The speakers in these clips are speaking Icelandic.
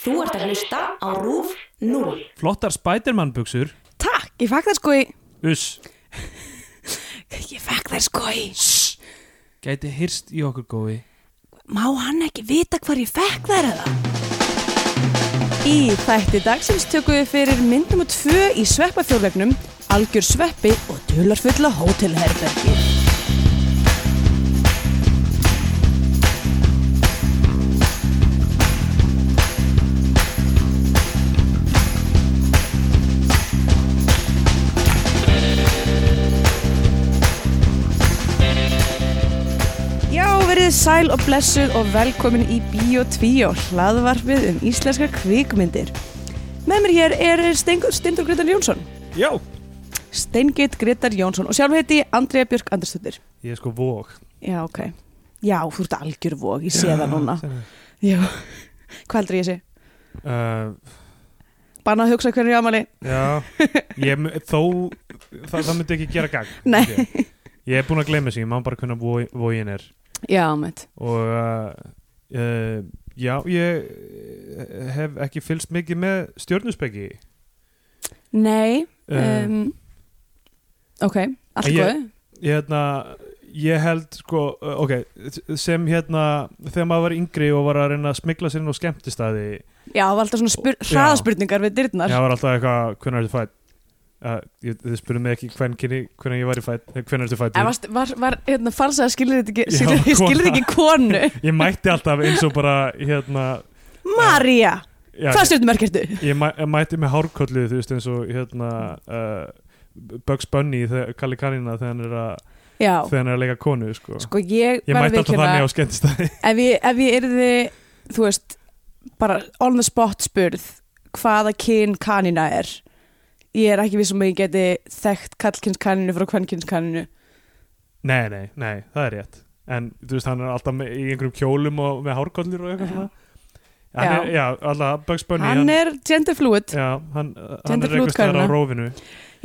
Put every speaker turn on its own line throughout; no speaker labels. Þú ert að hlusta á RÚF 0.
Flottar Spiderman buksur
Takk, ég fekk þær sko í
Uss,
Ég fekk þær sko í Shh,
gæti hyrst í okkur gói
Má hann ekki vita hvar ég fekk þær eða? Í þætti dagsins tökum við fyrir mynd nummer 2 í sveppafjórvegnum Algjör sveppi og dularfulla hótelherbergi Já, verið sæl og blessuð og velkomin í Bíó 2 hlaðvarpið um íslenska kvikmyndir Með mér hér er Stengur Stindur Gretar Jónsson
Já
Steingit Gretar Jónsson og sjálf heiti ég Andrea Björk Andersdóttir
Ég er sko vók
Já, ok. Já, þú ert algjör vóg, ég sé það núna. Já. Hvað heldur ég sé?
uh,
Bannað að hugsa hvernig ég ámali?
Já ég, mu- Þó, það, það myndi ekki gera gang
Nei.
Ég, ég er búin að gleyma þessu, ég má bara hvernig vói- vógin er
Já, meitt.
Og uh, uh, já, ég eh, hef ekki fylgst mikið með stjörnuspeki
Nei.
um,
Um, ok, allt
Ég-
góð.
hérna ég held sko, uh, ok sem hérna, þegar maður var yngri og var að reyna að smikla sér inn á skemmtistæði
Já, það var alltaf svona spyr,
Já.
hraðaspurningar við
ég
dyrnar.
var alltaf eitthvað, hvernig ertu fætt uh, ég- þið spurðu mig ekki hvern kynni hvernig ég var í fætt, hvernig ertu fætt
En var, var, var hérna, falsað skilur þetta ekki,
Já,
skilur,
kona.
skilur þetta ekki konu.
ég mætti alltaf eins og bara hérna,
Marja,
já,
hvað stjórnum er kertu?
ég, ég mæ, ég mætti með hárkollu þú veist eins og hérna uh, Bugs Bunny, þegar- Kalli Kanina þegar hann er að,
Já,
þegar hann er að leika konu sko.
sko ég,
ég
verð
mætti alltaf
viðurkenna-
þannig á skemmtistæði
ef ég, ef ég yrði þú veist, bara on the spot spurð hvaða kyn kanina er ég er ekki vissum að ég geti þekkt kallkynns kaninu frá kvennkynns kaninu
Nei, nei, nei, það er rétt En þú veist, hann er alltaf með, í einhverjum kjólum og með hárkollur og eitthvað
Já.
svona Hann
Já.
er, já, alltaf Bugs Bunny
hann er gender fluid
Já, hann, uh, hann
Gender
er eitthvað
fluid
stæðar á
kallina.
rófinu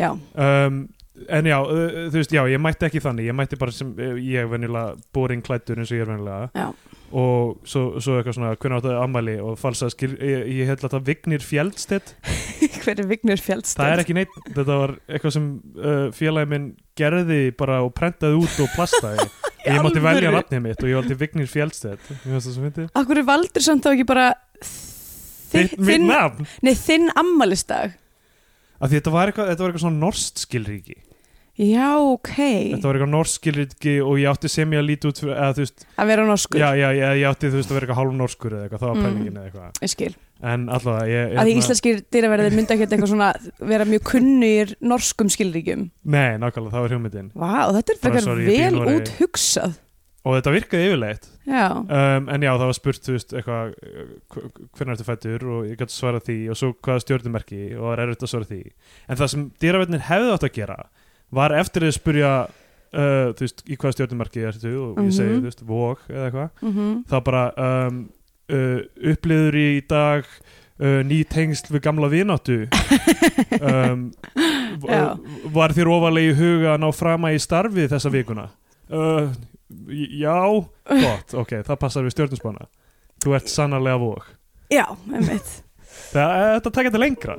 já,
um, En já, uh, þú veist, já, ég mætti ekki þannig Ég mætti bara sem, uh, ég er venjulega boring klættur eins og ég er venjulega
já,
Og svo, svo eitthvað svona, hvernig áttu ammæli og falsað skil, ég, ég held að það vignir fjeldstett
hver er Vignur
Það er
Fjallstöð
ekki neitt, þetta var eitthvað sem uh, félagi minn gerði bara og prentaði út og plastaði og ég mátti
alvöru?
velja nafnið mitt og ég valdi Vignir Fjellstedt Mér finnst það svo fyndið.
Akkur er valdur samt þá ekki bara þi-
Þitt mitt
þinn,
nafn
nei, þinn ammælistag
Af því þetta var eitthvað, þetta var eitthvað svona norskt skilríki
já, ok
Þetta var eitthvað norskt skilríki og ég átti sem ég að líti út fyrir, eða þú veist,
að vera norskur,
já, já, já, ég átti þú veist að vera eitthvað hálf norskur eða eitthvað, það var
Mm.
pælingin eða eitthvað
ég skil
En allavega, ég,
að því
hérna-
íslenskir dýraverðir mynda ekki eitthvað svona vera mjög kunnir norskum skilríkjum
Nei, nákvæmlega, það var hugmyndin
Vá, þetta er
Bara
frekar
sorry, ég býr í
vel
Noregi.
út hugsað.
Og þetta virkaði yfirleitt
Já,
um, en já, það var spurt, þú veist, eitthvað hvernig ertu fættur og ég gæti svarað því og svo hvaða stjórnumerki og það er erfitt að svara því en það sem dýraverðnin hefði átt að gera var eftir að spurja uh, þú veist, í hvaða stjórnumerki ertu og ég segi,
Mhm.
þú veist, vók eða eitthvað
mm
það bara um, uh, upplýður í dag uh, ný tengsl við gamla vináttu um,
Já.
v- var þér ofalega í huga að ná frama í starfi þessa vikuna uh, j- já gott, ok, það passar við stjórnusbána þú ert sannarlega vók
já, einmitt.
það, eh, þetta tekja þetta lengra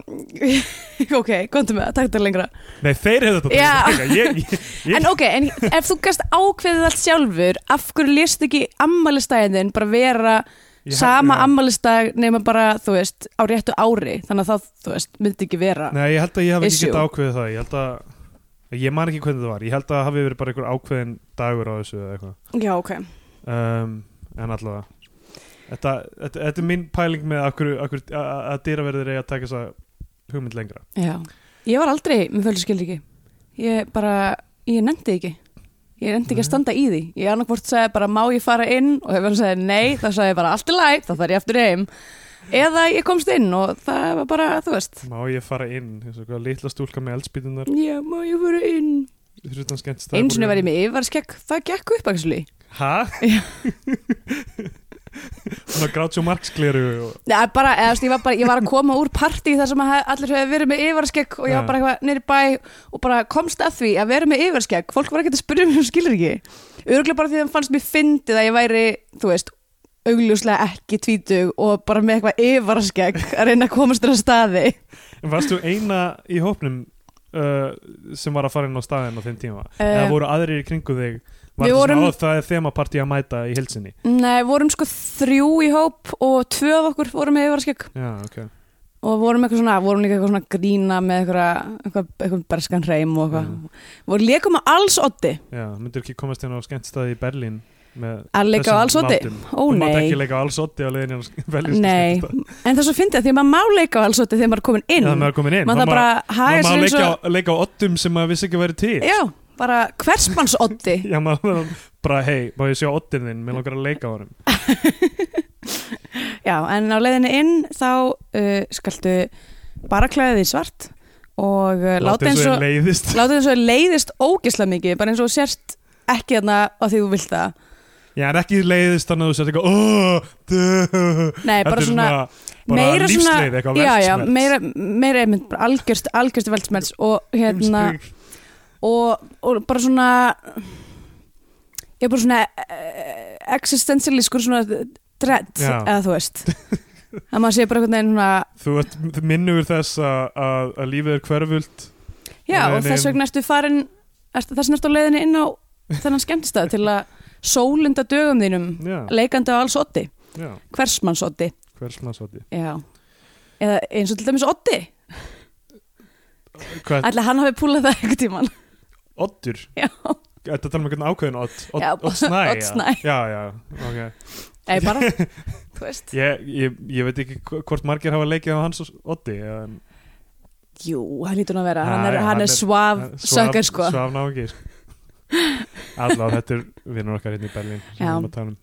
ok, komdu með það, takk þetta lengra.
nei, þeir hefðu þetta
Já.
tekið lengra ég, ég, ég,
En ok, en ef þú gæst ákveðið allt sjálfur, af hverju lést ekki ammælistæðin bara vera
ég,
sama
ég,
ammælistæð nema bara, þú veist, á réttu ári, þannig að það, þú veist, myndi ekki vera.
nei, ég held að ég hef ekki
Issue.
getað ákveðið það ég held að ég man ekki hvernig það var ég held að það hafi verið bara einhver ákveðin dagur á þessu eða eitthvað
Já, ok.
um, en allavega þetta, þetta, þetta er mín pæling með akkur, akkur, að, að dýraverðir eiga að taka þessa hugmynd lengra
Já. Ég var aldrei með fölgskildi ekki. Ég bara, ég nefndi ekki. Ég nefndi ekki að
Nei.
standa í því. Ég annarkvort sagði bara, má ég fara inn? Og ef hann sagði nei, þá sagði ég bara, allt er læg, þá þarf ég aftur heim. Eða ég komst inn og það var bara, þú veist,
má ég fara inn, eins og hvað litla stúlka með eldspýtunar
já, má ég fara inn?
þrjóttan skemmt stað
Eins og var ég með yfarskekk, það gekk upp, actually.
hæ?
Já.
svona grátsjó markskleru og...
Nei, bara, eða, þú veist, ég, var bara, ég var að koma úr partí þar sem að hef- allir hefur verið með yfarskekk og ég var
Já.
bara eitthvað neyri bæ og bara komst að því að vera með yfarskekk fólk var ekkert að spyrja mér um skilur ekki örgulega bara því að það fannst mér fyndið að ég væri þú veist, augljóslega ekki tvítug og bara með eitthvað yfarskegg að reyna að komast þér að staði
Varstu eina í hópnum uh, sem var að fara inn á staðin á þeim tíma?
Eh,
Eða voru aðrir í kringu þig? Var
við
þetta
vorum-
svona, "Ó, það er þemapartí að mæta í hilsinni?
Nei, vorum sko þrjú í hóp og tvö af okkur vorum með yfarskegg
Já, ok.
og vorum eitthvað svona, vorum líka eitthvað svona að grína með eitthvað, eitthvað, eitthvað berskan reym og eitthvað,
Mm.
vorum leikum að alls oddi,
Já, myndur ekki komast inn á skemmtstaði í Berlín með
að leika á
þessum
alls oddi
látum?
ó
Þú mátt
nei,
ekki leika á alls oddi á leiðinni á sk- Berlín
Nei. en það er svo fyndið að því að maður má leika á alls oddi þegar maður er komin inn,
Já, það maður komin inn.
maður það bara haga
maður má
sér eins
leika,
og,
á- leika á oddum sem maður vissi ekki að vera til.
já, bara hversmanns oddi
Já, maður bara, hei, má ég sjá oddin þinn, mér langar að leika á honum.
Já, en á leiðinni inn þá uh, skaltu bara klæða því svart og uh, láta eins og
leiðist.
láta eins og þér leiðist ógisla mikið, bara eins og þú sért ekki þarna á því þú vilt það.
Já, en ekki leiðist þannig að þú sér eitthvað, oh, duh.
Nei,
Þetta
bara
er
svona,
bara lífsleið, eitthvað
já, já,
veltsmerts.
meira, meira einmitt, bara algjörst, algjörst veldsmelts og hérna,
Heimsbyggð.
og, og bara svona, ég er bara svona uh, existentialískur svona dread,
Já.
eða þú veist. að maður sé bara einhvern veginn svona,
Þú ert minnugur þess að, að, að lífið er hverfult
Já,
Nei,
og
nei.
þess vegna ertu farin ertu, þess vegna ertu á leiðinni inn á þennan skemmtistað til að sólunda dögum þínum
Já,
leikandi á alls otti,
já,
hversmanns otti
hversmannsvati
Já, eða eins og til dæmis otti
Hvað,
ætla hann hafi púlað það einhvern tíman
oddur?
Já,
Þetta tala um einhvern ákveðin odd Odd,
Já,
odd snæ
Odd Snæ.
Já, já, já, ok
eða bara, þú veist
ég, ég, ég veit ekki hv- hvort margir hafa leikið á hans oddi en,
Jú, hann lítur nú að vera,
Já,
hann er,
já, hann
hann
er-
er svaf sökkar sko
Svaf náungi Allá, þetta er vinnur okkar hérna í Berlín sem við
Já.
erum að tala um.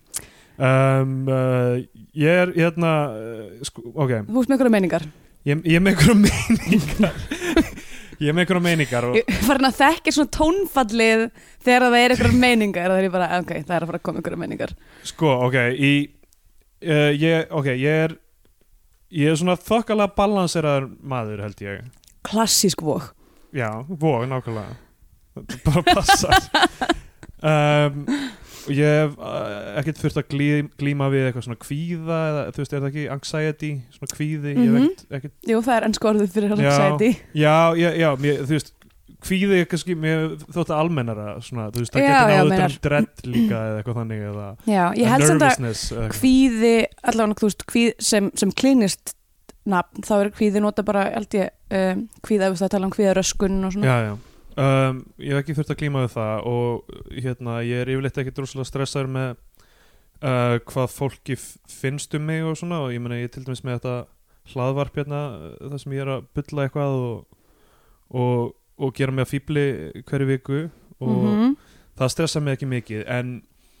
Um, uh, ég er hérna uh, sko, ok,
Þú veist með einhverja meiningar
ég, ég er með einhverja meiningar ég er með einhverja meiningar og,
Ég er farin að þekkja svona tónfallið þegar það er einhverjar meiningar það er ég bara, "Ah, ok, það er að fara að koma einhverjar meiningar
Sko, ok, í, uh, ég, okay ég, er, ég er svona þokkalega balanseraður maður held ég
Klassísk vók
Já, vó, nákvæmlega Þetta bara passar um, og Ég hef uh, ekkert þurft að glí- glíma við eitthvað svona kvíða eða, þú veist, er það ekki anxiety, svona kvíði ég hef
Mhm.
ekkert, ekkert
Jú, það er ennsku orðið fyrir hann
Já.
sæti
Já, já, já, mér, þú veist kvíði er kannski, mér hefur þótt að almennara svona, þú veist, það
Já,
getur
já,
náður utan
meinar.
um dread líka eða eitthvað þannig eða
Já, ég held samt að
nervousness eða eitthvað.
kvíði, allavega þú veist, kvíð, sem, sem klinist nafn, þá er kvíði nota bara, held ég, um, kvíða, við það tala um kvíðaröskun og svona.
já, já. Um, ég hef ekki þurft að klíma við það og hérna, ég er yfirleitt ekki droslega stressaður með uh, hvað fólki f- finnst um mig og svona og ég meina ég er til dæmis með þetta hlaðvarp hérna uh, þar sem ég er að bulla eitthvað og, og, og gera mig að fýbli hverju viku og
Mhm.
það stressa mig ekki mikið en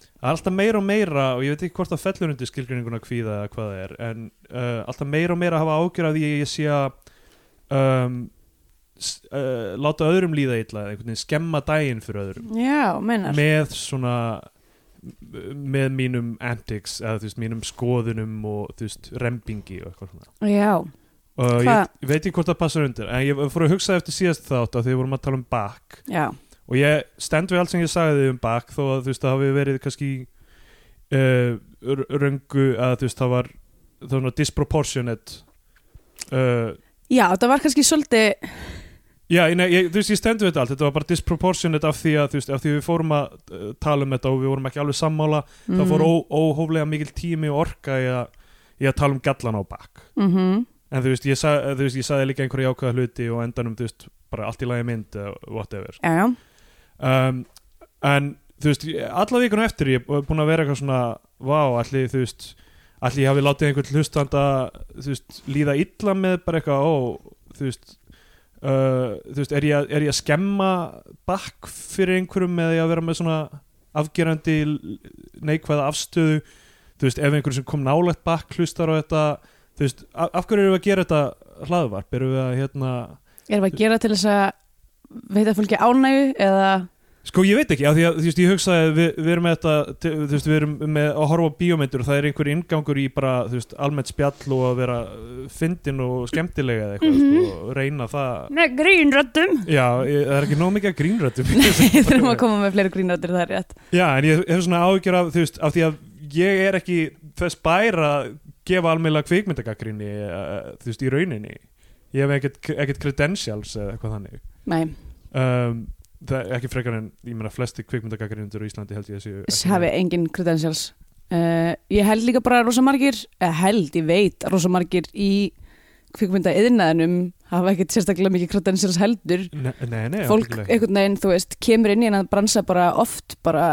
það er alltaf meira og meira og ég veit ekki hvort það fellur undir skilgreininguna kvíða eða hvað það er en uh, alltaf meira og meira að hafa ágjör af því að ég sé að um, s- uh, láta öðrum líða illa eða einhvern veginn skemma daginn fyrir öðrum
Já, meinar.
með svona með mínum antics eða þú veist mínum skoðunum og þú veist rembingi og eitthvað svona
Já,
og
Hvað?
ég, ég veit ekki hvort það passar undir en ég fór að hugsa eftir síðast þátt að því við vorum að tala um bakk
já,
og ég stend við allt sem ég sagði um Bach þó að þú veist það hafi verið kannski uh, röngu að þú veist það var það var nú disproportionate uh,
já, það var kannski svolítið,
já, ég- nei, ég, þú veist ég stend við þetta allt þetta var bara disproportionate af því að þú veist af því við fórum að uh, tala um þetta og við vorum ekki alveg sammála
mm,
það fór ó, óhóflega mikil tími og orka í að, í að tala um gallan á Bach
mm
en þú veist ég, sag, þú veist, ég sagði líka einhverja jákvæða hluti og á endanum þú veist bara allt í lagi mynd eða whatever
já, já,
um, en þú veist, ég- alla vikuna eftir ég er búin að vera eitthvað svona vá, allir þú veist allir ég hafi látið einhvern hlustanda þú veist, líða illa með bara eitthvað ó, þú veist uh, þú veist, er ég, að- er ég að skemma bakk fyrir einhverjum eða ég að vera með svona afgerandi l- neikvæða afstöðu þú veist, ef einhverjum sem kom nálægt bakk hlustar á þetta, þú veist af, af hverju erum við að gera þetta hlaðvarp erum við að hérna
erum við að gera til þess að veita fólki ánægu eða,
Sko ég veit ekki, af því að þú veist, ég hugsaði að við, við erum með þetta, til- þú veist, við erum með að horfa á bíómyndur og það er einhver inngangur í bara, þú veist, almennt spjall og að vera uh, fyndin og skemmtilega eða eitthvað, sko, og reyna það
með grínröddum.
Já, ég, það er ekki nóg mikið að grínrættum
Nei, þurfum að koma með fleiri grínröddir, það er rétt.
Já, en ég hef svona áhyggjur af, þú veist, af því að ég er ekki þess bær að gefa almennlega kvikmyndagagrýni þú veist, í rauninni ég hef ekkert, ekkert credentials eða eitthvað þannig
Nei,
um, það er ekki frekar en ég meina flesti kvikmyndagagrýnundur í Íslandi held ég að séu ekki-
hafi engin credentials uh, Ég held líka bara rosa margir eða held, ég veit, að rosa margir í kvikmynda yðnaðinum hafa ekkert sérstaklega mikið credentials heldur
Ne- Nei, nei,
fólk
ábyggilega ekki.
einhvern veginn, þú veist, kemur inn í hennan bransa bara oft bara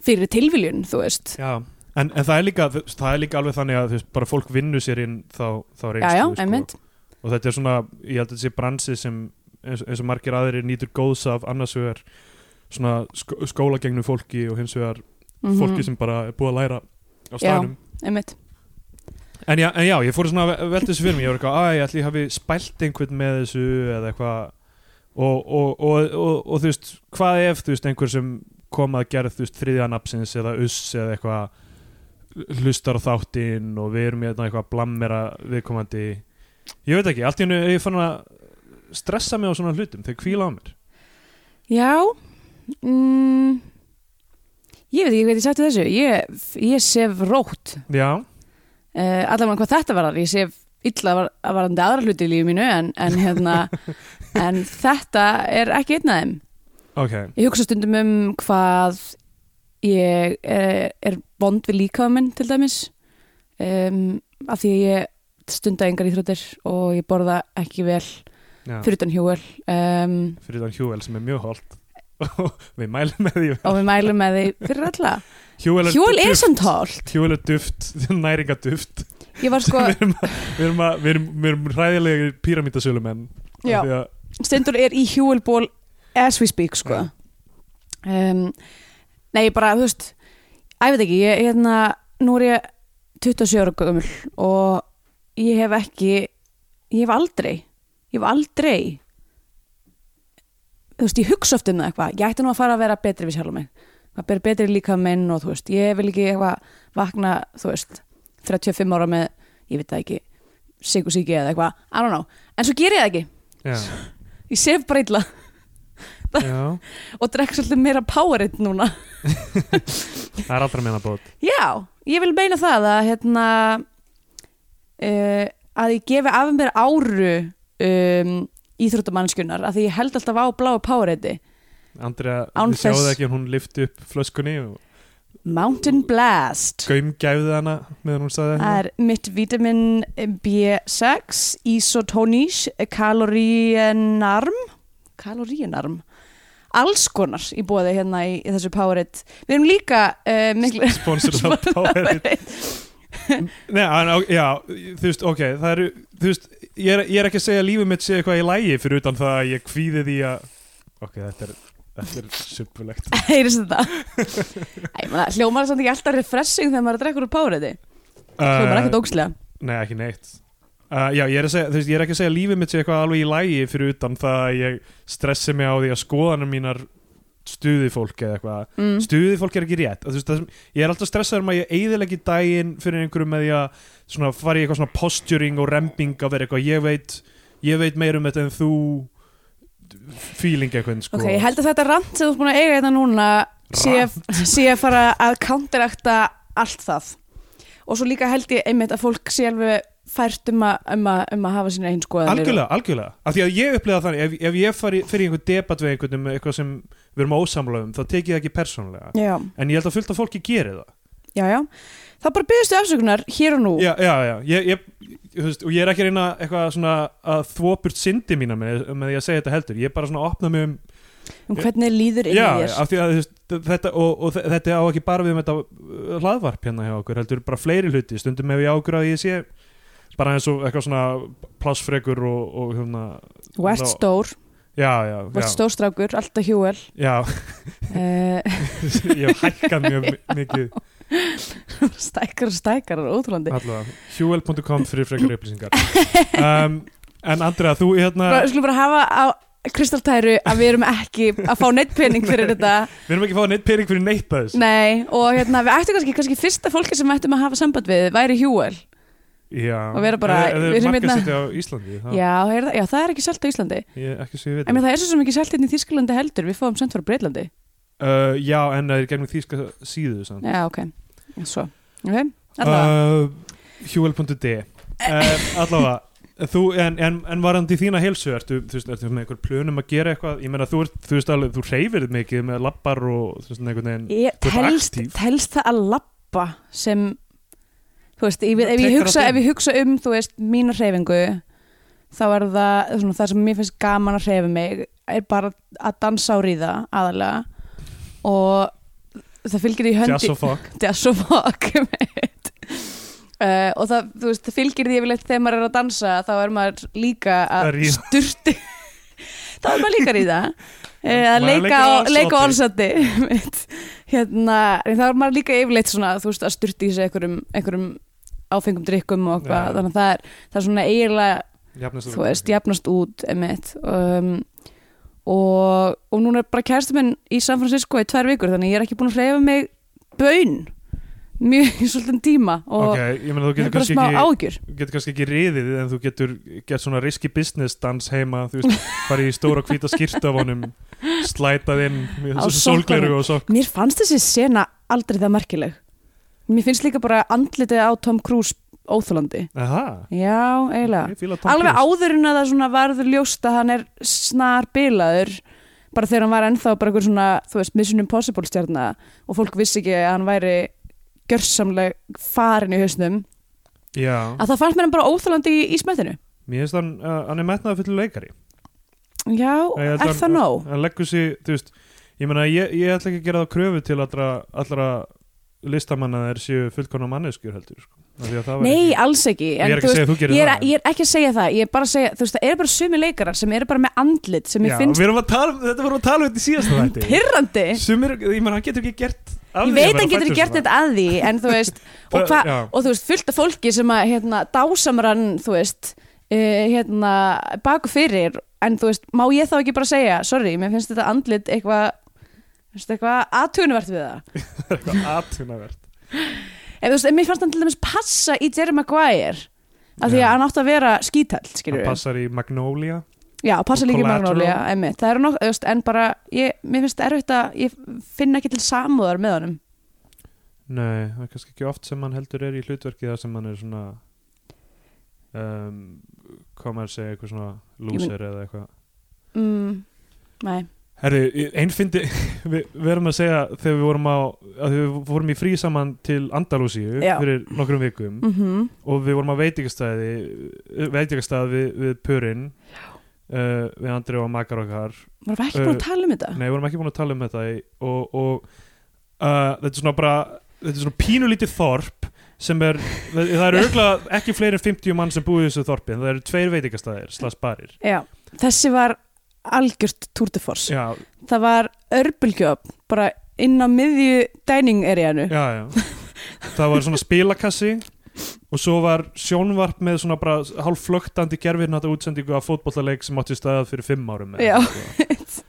fyrir tilviljun, þú veist
Já, en, en það, er líka, það er líka alveg þannig að þú veist, bara fólk vinnur sér inn þá, þá
Já,
reynslu
já,
sko.
einmitt
og þetta er svona, ég held að þetta sé bransi sem eins, eins og margir aðrir nýtur góðs af annars vegar svona sk skólagengnu fólki og hins vegar
Mhm,
fólki sem bara er búið að læra á
Já.
staðnum
Einmitt,
en já, en já, ég fór svona að velta þessu fyrir mig ég var eitthvað, að ég ætli ég hafi spælt einhvern með þessu eða eitthvað og, og, og, og, og, þú veist, hvað ef þú veist, einhver sem kom að gera þú veist, þriðja napsins eða uss eða eitthvað hlustar á þáttinn og við erum hérna eitthvað að blammera viðkomandi ég veit ekki, allt í hennu er ég fann að stressa mig á svona hlutum, þau kvíla á mér
já mm, Ég veit ekki hvað ég sagt við þessu Ég, ég sef rótt
já,
uh, allavega hvað þetta varðar ég sé illa var, að varðandi aðra hluti í lífi mínu en, en, hérna, en þetta er ekki einn af þeim
ok
ég hugsa stundum um hvað ég er, er vond við líkaða minn til dæmis um, af því að ég stunda engar íþróttir og ég borða ekki vel
já.
fyrir utan hjúvel um,
fyrir þann Hjúvel sem er mjög holdt við mælum með því
og við mælum með því fyrir alla
Hjúvel er,
hjúvel er
duft.
samt hólt
Hjúvel er duft, næringaduft
ég var sko,
við, erum að, við, erum að, við, erum, við erum hræðilegir píramítasölumenn
já
Af því að-
Stendur er í hjúelból as we speak sko um, Nei, ég bara, þú veist Æ, ég veit ekki, ég, hérna Nú er ég 27 ára gömul og ég hef ekki ég hef aldrei ég hef aldrei þú veist, ég hugsa oft um það eitthvað ég ætti nú að fara að vera betri við sjálfum mig að bera betri líka minn og þú veist ég vil ekki eitthvað vakna, þú veist 35 ára með, ég veit það ekki sigur síki eða eitthvað, I don't know en svo ger ég það ekki
já,
ég sef bara illa
já,
og drekk svolítið meira powerade núna
það er allra meina bót
já, ég vil meina það að hérna uh, að ég gefi af mér áru um, íþróttamannskjunar að því ég held alltaf á bláu powerade
Andrea,
Án
við sjáum
þess.
það ekki að hún lifti upp flöskunni og
Mountain Blast
gaumgæfði hana meðan hún sagði
það
þetta.
er mitt vitamin B6 isotonís kaloríenarm kaloríenarm alls konar í bóði hérna í, í þessu powerade við erum líka uh, miklu
sponsored af Powerade Nei, en, ok, já, þú veist, ok það eru, þú veist, ég er, ég er ekki að segja að lífið mitt sé eitthvað í lægi fyrir utan það að ég kvíði því að ok, þetta er, þetta er subbulegt
heyrist þetta Æ, maður, hljómar þetta ekki alltaf refreshing þegar maður er að drekka úr páriði hljómar
Eh,
ekkert ógslega
Nei, ekki neitt uh, Já, ég er, að segja, þú veist, ég er ekki að segja að lífið mitt sé eitthvað alveg í lægi fyrir utan það að ég stressi mig á því að skoðanum mínar stuði fólk eða eitthvað
mm.
stuði fólk er ekki rétt Að þú veist, það sem, ég er alltaf stressaður um að ég eigðilegi daginn fyrir einhverjum með því að svona, fara í eitthvað svona posturing og remping að vera eitthvað ég veit, ég veit meir um þetta en þú feeling eitthvað sko.
ok, ég held að þetta rant sem þú ert búin að eiga þetta núna sé, sé að fara að counterakta allt það og svo líka held ég einmitt að fólk sé alveg fært um að, um að, um að hafa sína einn skoðanir
Algjörlega, algjörlega, af því að ég upplega þannig ef, ef ég fari fyrir einhver debat við einhvern um eitthvað sem við erum ósamlega um, þá tekið það ekki persónlega
já,
en ég held að fullt af fólki geri það
já, já það bara byrðustu afsökunar hér og nú
já, já, já, ég, ég, þú veist, og ég er ekki að reyna eitthvað svona að þvopurt syndi mína með, með því að segja þetta heldur ég er bara svona að opna mig um
um hvernig líður inn í
já,
þér
af því að þú veist, þetta, og, og þe- þetta á ekki bara við um þetta uh, hlaðvarp hérna hjá okkur, heldur bara fleiri hluti stundum hef ég ágjur að ég sé bara eins og eitthvað svona plássfrekur og, og hérna,
þú ert
þá-
stór,
já, já,
þú ert
já,
stórstrákur alltaf hjúvel
já
uh,
ég hef hækkað mjög mi- mikið
stækar og stækar, það er ótrúlandi
allavega, hjúel.com fyrir frekar upplýsingar um, en Andrea, þú hérna
bara, við skulum bara hafa á kristaltæru að við erum ekki að fá neitt pening fyrir þetta
Við erum ekki að fá neitt pening fyrir neitt að þessu
nei, og hérna, við ættum kannski, kannski fyrsta fólki sem við ættum að hafa samband við væri Hjúel
Já,
Og vera bara-
Eða- eða
við erum
markaðsett
hérna-
á Íslandi það,
já, er, það- já, það er ekki selt á Íslandi
Ég ekki sé við
en það er svo sem ekki selt hérna í Þísklandi heldur við fáum sent frá Breitlandi
uh, Já, en það er gegnum þýska síðu samt.
já, ok, Svo, ok, allavega
uh, Hjúel.d uh, Allavega Þú, en, en, en varandi þína heilsu ertu, þú veist, ertu með einhver plönum að gera eitthvað ég meina þú, ert, þú veist alveg, þú reyfir mikið með labbar og þú veist, einhvern veginn
ég,
þú ert
telst,
aktíf.
telst það að lappa sem þú veist, ég, ef, ég
Tekur
hugsa,
allt inn.
ef ég hugsa um þú veist, mína hreyfingu þá er það svona, það sem mér finnst gaman að hreyfa mig er bara að dansa á ríða aðalega og það fylgir í höndi
Jazz og fuck
jazz og rock einmitt. uh, og það, þú veist, það fylgir því yfirleitt þegar maður er að dansa þá er maður líka
Að
að
ríða.
sturti þá er maður líka að ríða Eh, að
Maður er
leika
líka
á,
á
leika á
allsoddi.
allsati hérna, en þá er maður líka yfirleitt svona, þú veist, að sturti í sig einhverjum, einhverjum áfengum drikkum og hvað,
Já.
þannig að það er, það er svona eiginlega
Jafnast
þú veist, jafnast út emitt um, og, og núna er bara kæristu minn í San Francisco í tvær vikur þannig að ég er ekki búin að hreyfa mig bön mjög í svolítið tíma og
Ok, ég meina þú
ég er
getur
bara
kannski
smá
ekki
ágjur
getur kannski ekki riðið en þú getur gert svona risky business dans heima þú veist, farið í stóra hvíta skýrta af honum slætað inn
Á
með sólgleru og sokk
Mér fannst þessi sena aldrei það merkileg Mér finnst líka bara andlitið á Tom Cruise óþólandi
Aha,
Já, eiginlega
ég fíla Tom
Alveg
Cruise.
áður en að það svona varður ljóst að hann er snar bilaður bara þegar hann var ennþá bara einhver svona þú veist, Mission Impossible stjarnar og fólk vissi ekki að hann væri gjörsamleg farin í hausnum
Já,
að það fannst mér hann bara óþálandi í, í smettinu
mér finnst hann, uh, hann er metnaða fullu leikari
Já,
Ég held
er
hann-
það nóg?
hann leggur sér, þú veist ég meina, ég, ég ætla ekki að gera það kröfu til allra, allra listamanna þeir séu fullkona manneskjur heldur sko. Af því að það væri
Nei,
ekki,
alls ekki
ég
en
er ekki
þú
að segja að þú gerir
ég er,
það
ég er ekki að segja það, ég er bara að segja þú veist, það eru bara sumi leikarar sem eru bara með andlit sem ég
Já,
finnst
við erum að tala, um- þetta vorum við að tala um þetta í síðasta þætti
pyrrandi
Sumir, ég meina, hann getur ekki gert af
Eh?
því
ég
að
veit
vera
hann getur
fæddur
gert
svona.
þetta að því en þú veist, og,
Það-
hva,
já.
og þú veist fullt af fólki sem að hérna, dásamrann þú veist, uh, hérna baku fyrir, en þú veist má ég þá ekki bara segja, sorry, mér finnst þetta andlit eitthvað, finnst eitthvað aðtugunvert við það,
Það er eitthvað atvinnavert
en þú veist, en mér fannst hann til dæmis passa í Jerry Maguire af því
Já.
að hann átti að vera skítall, skilur
hann
við
passar í Magnolia
já, passa
og
líka í
Collateral.
Magnolia, emmitt, það eru nokk, þú veist, en bara ég, mér finnst erfitt að, ég finn ekki til samúðar með honum
nei, það er kannski ekki oft sem hann heldur er í hlutverki þar sem hann er svona um, hvað maður að segja eitthvað svona
Ég
loser eða eitthvað
mm, nei,
Herri, einn fyndi við við erum að segja þegar við vorum á að við vorum í frí saman til Andalúsíu
Já.
fyrir nokkrum vikum
mhm
og við vorum á veitingastæði veitingastæði við, við Pörin uh, við Andri og Makar okkar
Varum við ekki búin að
Uh,
tala um þetta?
nei, við vorum ekki búin að tala um þetta í, og, og uh, þetta er svona bara þetta er svona pínulítið þorp sem er, það það eru auðvitað ekki fleiri en 50 mann sem búið í þessu þorpi en það eru tveir veitingastæðir, slags barir
Já, þessi var algjört Tour de Force.
já,
Það var örbulgjöf, bara inn á miðju dining areanu.
já, já. það var svona spilakassi og svo var sjónvarp með svona bara hálf flögtandi gerfin þetta útsendingu af fótbollaleik sem átti stað fyrir fimm árum eða
Já.
eitthvað.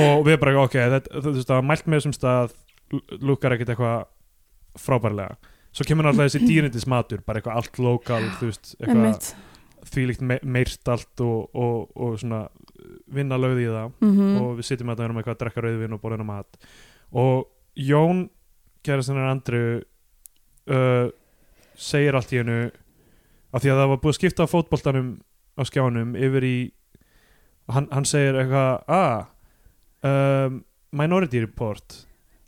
og við bara ok, þetta, þú veist það var mælt með þessum stað lú- lúkar ekkert eitthvað frábærlega svo kemur náttúrulega þessi dýrindis matur bara eitthvað allt lokal, þú veist eitthvað
Einmitt.
þvílíkt me meirst allt og, og, og svona vinna lögði í það
Mhm.
og við sitjum að það erum eitthvað að drekka rauðvin og borðina mat og Jón kærasinnar Andru uh, segir allt í hennu af því að það var búið að skipta á fótboltanum á skjánum yfir í hann, hann segir eitthvað að um, Minority Report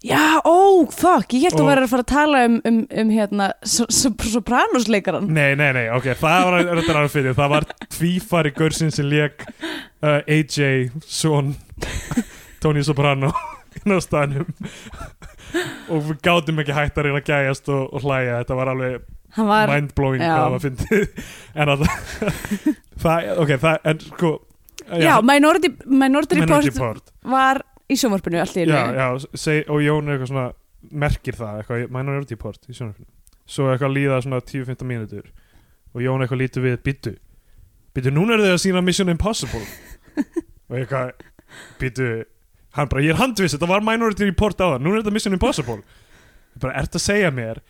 Já, ó, fuck, ég held að
Og-
þú væri að fara að tala um, um, um hérna, so- so- Sopranos-leikaran.
Nei, nei, nei, ok, það var þetta er alveg fyrir, það var tvífari görsin sem lék uh, AJ Son Tony Soprano inn á staðnum og við gátum ekki hægt að reyna að gæjast og, og hlæja, þetta var alveg
Hann var,
mindblowing
Já.
hvað það var fyndið en alltaf það, ok, það, en sko
já, Minority, Minority Report
Minority Report
var í sjónvarpinu allir.
já, já, seg, og Jón er eitthvað svona merkir það, eitthvað, Minority Report í sjónarfinu, svo eitthvað líða svona 10-15 mínútur og Jón eitthvað lítur við byttu, byttu núna er þau að sína Mission Impossible og eitthvað, byttu hann bara, ég er handviss, þetta var Minority Report á það núna er þetta Mission Impossible Ég bara, ert að segja mér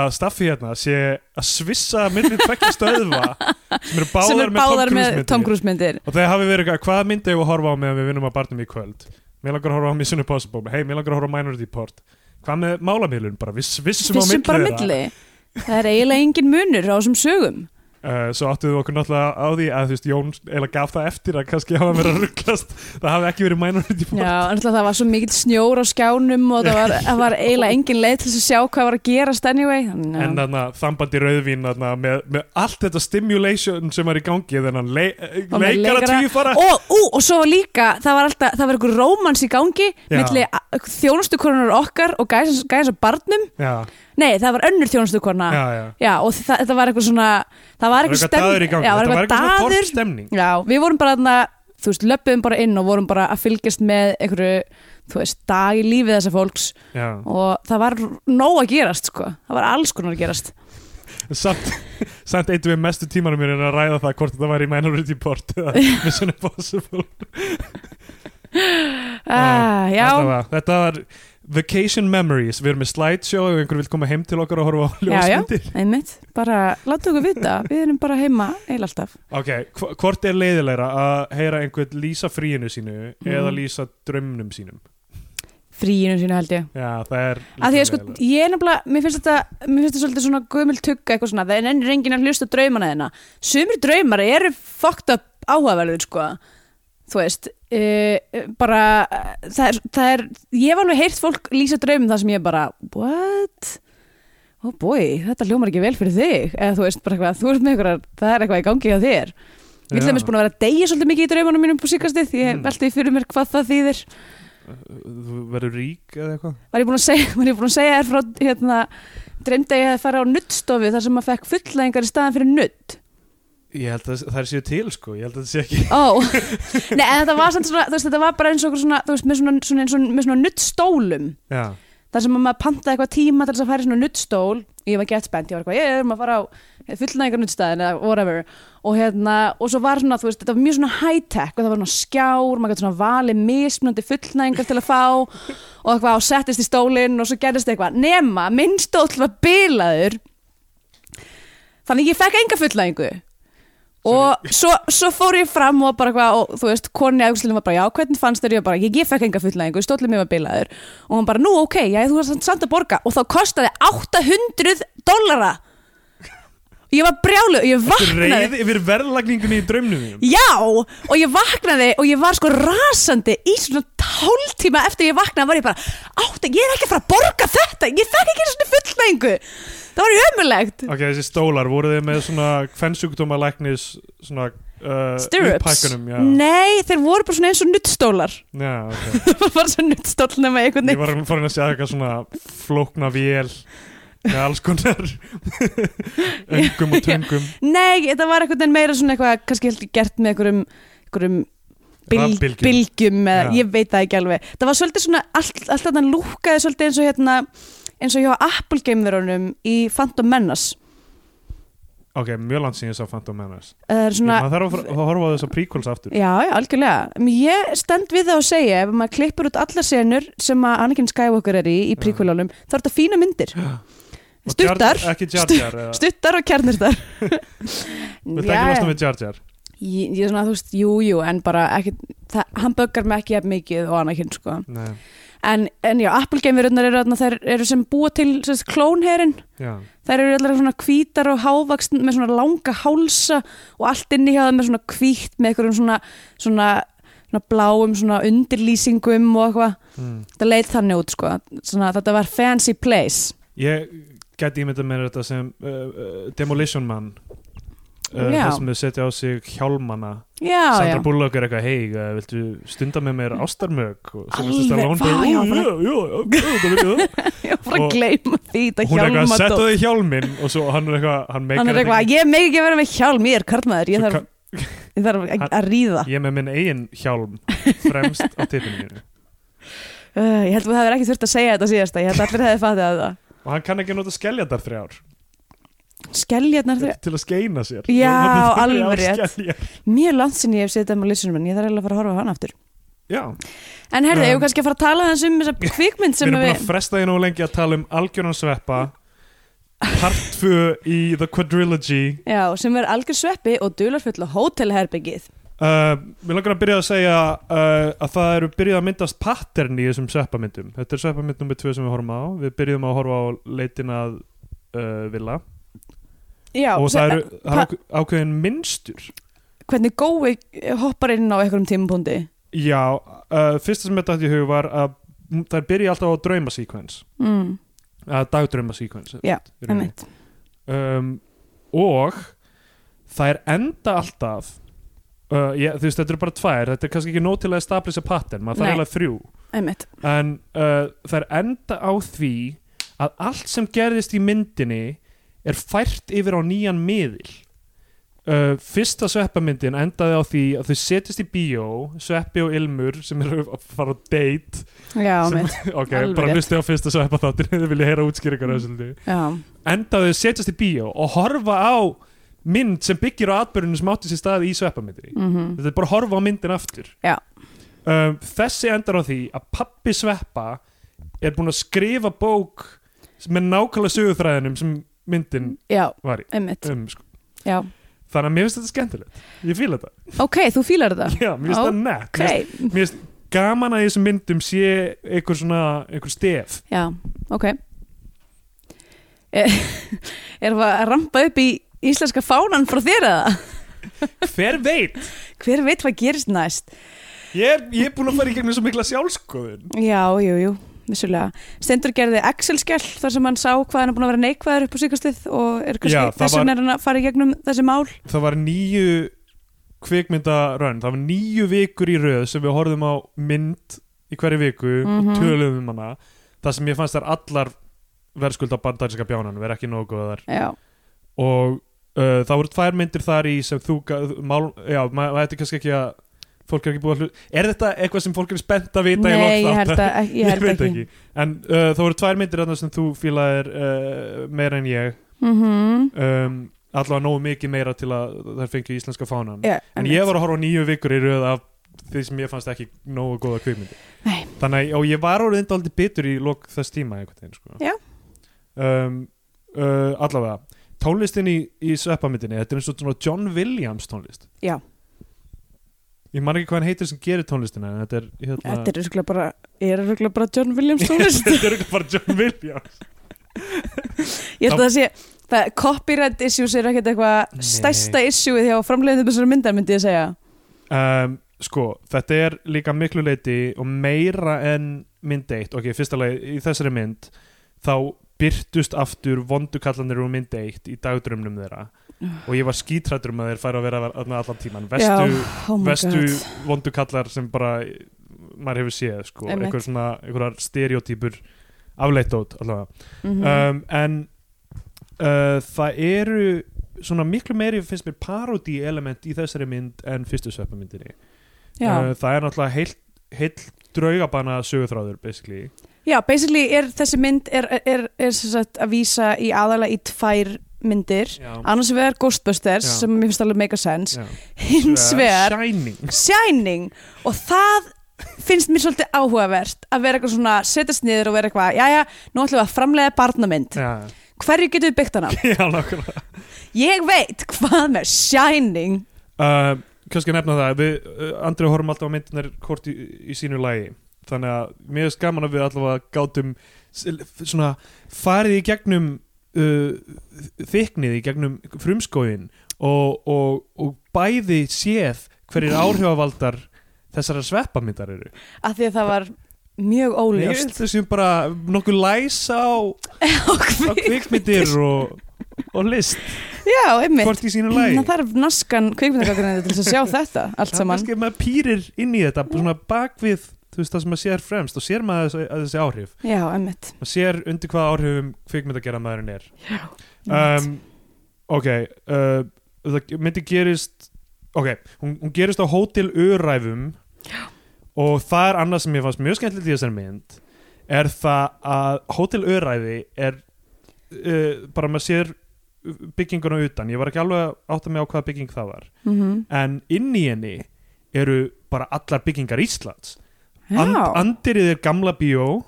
að staffi hérna sé að svissa millir tvekki stöðva sem eru báðar,
sem er báðar með Tom
myndinni.
Cruise myndir.
Og þeir hafi verið eitthvað, hvað myndi ég að horfa á meðan við vinnum að barnum í kvöld? Mér langar að horfa á Mission Impossible, hei, mér langar að horfa á Minority Report Hvað með málamiðlun, bara viss, vissum, á
Vissum bara
milli þeirra.
milli Það er eiginlega engin munur á þessum sögum
Uh, svo áttuðum við okkur náttúrulega á því að þú veist, Jón eiginlega gaf það eftir að kannski hafa verið að rugglast það hafi ekki verið minority
Já,
report
en alltaf það var svo mikill snjór á skjánum og það var, það var eiginlega engin leið til þess að sjá hvað var að gerast anyway Þannig að-
en þarna þambandi rauðvín þarna, með, með allt þetta stimulation sem er í gangi þennan le
Og með
leikara
leikara-
tvíu fara
og, ú, og svo var líka, það var alltaf það var einhver rómans í gangi
Já.
milli þjónustukonunar okkar og gæs að barnum,
já,
nei það var önnur þjónustukona
já, já
og þa þetta var eitthvað svona það var
Það var
eitthvað
eitthvað daður í gangi,
já,
þetta var eitthvað svona
daður.
torfstemning
já, við vorum bara þarna, þú veist, löpum bara inn og vorum bara að fylgjast með einhverju þú veist, dag í lífi þessa fólks
Já,
og það var nóg að gerast sko. það var alls konar að gerast
samt, samt eitt við mestu tímanum mér en að ræða það hvort þetta var í Minority Report eða Mission Impossible
ah, já,
Þetta var- Þetta var Vacation Memories, við erum með slideshow ef einhver vil koma heim til okkar og horfa á
Já, já.
ljósmyndir
einmitt, bara láta okkur vita við erum bara heima eil alltaf
Ok, hv- hvort er leiðilegra að heyra einhvern lýsa fríinu sínu
Mm.
eða lýsa draumnum sínum
fríinu sínu held ég
Já, það er
að því að sko,
líka leiðilegra.
ég er nefnilega, mér finnst þetta mér finnst þetta svolítið svona gömul tugga eitthvað svona það er ennur enginn að hlusta á draumana þeirna sumir draumar eru fucked up áhugaverður sko, þú veist uh, bara uh, það er, það er, ég hef alveg heyrt fólk lýsa draumum það sem ég bara, what oh boy, þetta hljómar ekki vel fyrir þig eða þú veist bara eitthvað, þú veist með ykkur það er eitthvað í gangi hjá þér Ég er til
Já.
dæmis búin að vera að deyja svolítið mikið í draumunum mínum på síkastið, ég
Mm.
velti fyrir mér hvað það þýðir
Þú verður rík eða eitthvað
var ég búin að segja, var ég búin að segja þér frá hérna, dreymdi að ég hefði farið á nuttstofu þar sem maður fekk fullnæðingar í staðan fyrir nutt
Ég held að það séu til sko, ég held að það sé ekki
ó, nei en þetta var samt svona þú veist, þetta var bara eins og einhver svona, þú veist, með svona, svona, eins og með svona nuttstólum
Já,
þar sem maður pantaði eitthvað tíma til þess að fara í svona nuttstól ég var gett spennt, ég var eitthvað, ég er maður að fara á fullnæðingar nuttstæðin eða whatever og hérna, og svo var svona, þú veist, þetta var mjög svona high-tech og það var svona skjár, maður gæti svona valið mismunandi fullnæðingar til að fá og eitthvað, og settist í stólinn og svo gerðist eitthvað, nema, minn stóll var bilaður þannig ég fekk enga fullnæðingu og svo, svo fór ég fram og bara hvað, og þú veist, konni aðgjóðslunum var bara já, hvernig fannst þér, ég var bara, ég, ég fekk enga fullnæðingu stóllum mér var bilaður, og hann bara, nú ok já, þú varst samt- samt að borga, og þá kostaði 800 dollara ég var brjálu, ég vaknaði
reið yfir verðlagningunni í draumnum mínum
já, og ég vaknaði og ég var sko rasandi í svona hálftíma eftir ég vaknaði var ég bara, átt, ég er ekki að fara að borga þetta ég fekk ekki svona fullnæðingu það var ömulegt
Ok, þessi stólar, voru þið með svona fennsjúkdóma læknis svona uh,
Stirrups,
upphækkunum, já.
nei, þeir voru bara svona eins og nuttstólar
já ok.
Það var svo nuttstólna með einhvern
Ég
veginn
var um- farin að sjá eitthvað svona flókna vél með alls konar öngum og tungum
Nei, þetta var einhvern veginn meira svona eitthvað kannski held ég gert með einhverjum, einhverjum bil,
Rafbylgjum.
bylgjum eða,
Já.
ég veit það ekki alveg það var svolítið svona, allt, allt þetta lúkaði svolítið eins og hérna eins og hjá Apple gameverunum í Phantom Menace
Ok, mjög langt síðan ég sá Phantom Menace
það er Eh, svona,
Ég- maður þarf að fara- að horfa á þessa prequels aftur
já, já, algjörlega Men ég stend við það að segja, ef maður klippur út allar senur sem að Anakin Skywalker er í í príkulálum, þá er þetta fína myndir
Og
stuttar,
Jar, Ekki Jar Jar eða-
stuttar og kjarnir þar
Við það ekki losna við Jar Jar
ég, ég svona, þú veist, jú, jú, en bara ekki, það, hann böggar mig ekki jafn mikið og Anakin, sko.
Nei,
En, en já, Apple Gamerunar eru þarna, þær eru sem búa til sem sagt, klónherin,
já
þær eru allar svona hvítar og hávaksn með svona langa hálsa og allt inni hjá það með svona hvít með einhverjum svona, svona, svona bláum, svona undirlýsingum og eitthvað.
mm.
Þetta leit þannig út, sko. Svona, þetta var fancy place.
Ég gæti ímyndað mér þetta sem uh, uh, Demolition Man uh,
Já.
Það sem þau setja á sig hjálmana
Já,
Sandra
já.
Bullock er eitthvað hei, uh, viltu stunda með mér ástarmög og svo
Alveg,
finnst þetta lón
vá, já, bara- Ég var að
Og-
gleyma því þetta
hún er eitthvað að
hjálmadót.
setja þig hjálminn og svo hann er eitthvað, hann meikar
Hann er
þetta
eitthvað, ég meg ekki að vera með hjálm, ég er karlmaður, ég
Svo
þarf Ég þarf að,
Hann-
að ríða.
ég er með minn eigin hjálm fremst á tippinu mínu
Uh, ég held að þú hefur ekki þurft að segja þetta síðast Ég held að allir hefði fatið að það.
og hann kann ekki nota skelljadar þrjár
Skeljarnar þegar...
til að skeina sér
Já,
Hann notar þrjár
alveg rétt.
skeljar.
Mjög langt sinni ég hef setið það með lisunum en ég þarf eiginlega að fara að horfa á hann aftur.
já,
En herðu,
Um,
ég hef kannski að fara að tala þess um þessa kvikmynd
við
sem
erum búin að
við...
fresta því nú lengi að tala um algjörnum sveppa part 2 í The Quadrilogy
Já, sem er algjör sveppi og dularfull og hótelherbyggið.
Uh, mér langar að byrja að segja uh, að það eru byrjað að myndast pattern í þessum sveppamyndum þetta er sveppamynd nummer 2 sem við horfum á við byrjum að horfa á leitin að uh, villa
Já,
og það eru það er
pa-
ák- ákveðin minnstur
hvernig gói hoppar inn á einhverjum tímapunkti
já, uh, fyrsta sem þetta hætti í hug var að m- þær byrja alltaf á draumasíkvens
mm,
að dagdraumasíkvens
Já,
í rauninni.
Mm, einmitt
um, og þær enda alltaf uh, ég, þú veist, þetta eru bara tvær þetta er kannski ekki nóg til að establisa pattern maður
Nei.
þarf eiginlega þrjú
einmitt,
en uh, þær enda á því að allt sem gerðist í myndinni er fært yfir á nýjan miðil uh, fyrsta sveppamyndin endaði á því að þau setjast í bíó sveppi og ilmur sem eru að fara á date
já,
Sem-
einmitt
ok,
Alveg
bara
rétt.
hlusti á fyrsta sveppa þáttir þau vilja heyra útskýringar mm. þessu
já,
endaði þau setjast í bíó og horfa á mynd sem byggir á atbyrjunum sem átti sér stað í sveppamyndinni
mhm
þetta er bara að horfa á myndin aftur
Já.
um, þessi endar á því að pappi sveppa er búin að skrifa bók með nákvæmlega sögurþræðinum sem myndin
já,
var í
einmitt
um, sko.
já.
þannig að mér finnst þetta skemmtilegt ég fíla þetta,
ok, þú fílar þetta
já, mér finnst þetta nett
ok,
Mér finnst- mér finnst gaman að í þessum myndum sé einhver svona, einhver stef
já, ok er er það að rampa upp í íslenska fánan frá þér eða?
hver veit,
hver veit hvað gerist næst
ég er, ég er búin að fara í gegnum svo mikla sjálfskoðun
já, jú, jú, vissulega Stendur gerði Excel-skjall þar sem hann sá hvað hann er búin að vera neikvæður upp á síkastið og er kannski,
Já, það
þess
var-
vegna er hann að fara í gegnum þessi mál
það var nýju kvikmyndarönn, það var nýju vikur í röð sem við horfðum á mynd í hverju viku
Mhm.
og töluðum um hana það sem ég fannst þær allar verðskulda bandarinska bjánan, vera ekki nógu góðar
já,
og uh, það voru tvær myndir þar í sem þú ga- mál, já, maður ma, þetta kannski ekki að fólk er ekki búið að hluta er þetta eitthvað sem fólk er spennt að vita í lok
nei, ég held
þáttar?
að ekki, ég held
veit
ekki.
ekki en uh, það voru tvær myndir þarna sem þú fílaðir uh, meira en ég
Mhm.
um, allavega nógu mikið meira til að þær fengi íslenska fánan
Já,
En
einmitt.
ég var að horfa á nýju vikur í röð af því sem ég fannst ekki nógu góða kvikmyndi.
Nei.
Þannig að og ég var orðin dálítið bitur í lok þess tíma einhvern veginn, sko.
Já.
Um, uh, allavega, tónlistin í, í sveppamyndinni, þetta er eins og svona John Williams tónlist.
Já.
Ég man ekki hvað hann heitir sem gerir tónlistina, en þetta er hérna...
Þetta er örugglega bara, er örugglega bara John Williams tónlist
Þetta er ekki bara John Williams.
Ég held að það sé það, Copyright issues er ekkert eitthvað
Nei.
stærsta issueið hjá framleiðinu þessar myndar myndi ég segja
Um, sko, þetta er líka miklu leiti og meira en mynd eitt ok, fyrsta lagi, í þessari mynd þá byrtust aftur vondukallanir úr mynd eitt í dagdrömmnum þeirra og ég var skítrættur um að þeir færa að vera þarna allan tíman vestu,
Já, oh my
vestu
God.
vondukallar sem bara maður hefur séð sko,
Einmitt.
einhver svona, einhverjar stereotypur afleitt át allavega
Mhm.
um, en uh, það eru svona miklu meiri finnst mér parody element í þessari mynd en fyrstu sveppamyndinni
já.
uh, það er náttúrulega heill, heill draugabana sögurþráður basically
já, basically er þessi mynd er, er, er, er sem sagt, að vísa í aðalega í tvær myndir
já,
annars vegar Ghostbusters
Já.
sem mér finnst alveg make a sense
já.
hins vegar
Shining
Shining og það finnst mér svolítið áhugavert að vera eitthvað svona setjast niður og vera eitthvað jæja, nú ætlum við að framleiða barnamynd
já,
hverju getum við byggt hana?
já nákvæmlega
Ég veit hvað með Shining
uh, kannski nefna það við, uh, Andri horfum alltaf á myndinar hvort í, í sínu lagi þannig að mér er skaman að við allavega gátum s- svona farið í gegnum uh, þyknið í gegnum frumskóin og, og, og bæði séð hverjir áhrifavaldar þessara sveppamyndar eru
af því að það var mjög
Nei, ég
óljóst
held þessum bara nokkuð læsa á, á
og kvik
kvikmyndir og, og list
já, einmitt
hvort í sínu lagi
Ná, það er naskan kvikmyndagagrinni til þess að sjá þetta allt
Það er
saman Mm.
kannski að maður pýrir inn í þetta svona bakvið þú veist það sem maður sér fremst og sér maður þessi, að þessi áhrif
já, einmitt
maður sér undir hvaða áhrifum kvikmyndagera maðurinn er
einmitt.
um, ok uh, það myndi gerist ok, hún, hún gerist á hótel öræfum og það er annað sem ég fannst mjög skemmtilegt í þessari mynd er það að hótel öræfi er uh, bara maður sér bygginguna utan, ég var ekki alveg að átta mig á hvaða bygging það var
Mhm.
en inn í henni eru bara allar byggingar Íslands And,
já,
Andirið er gamla bíó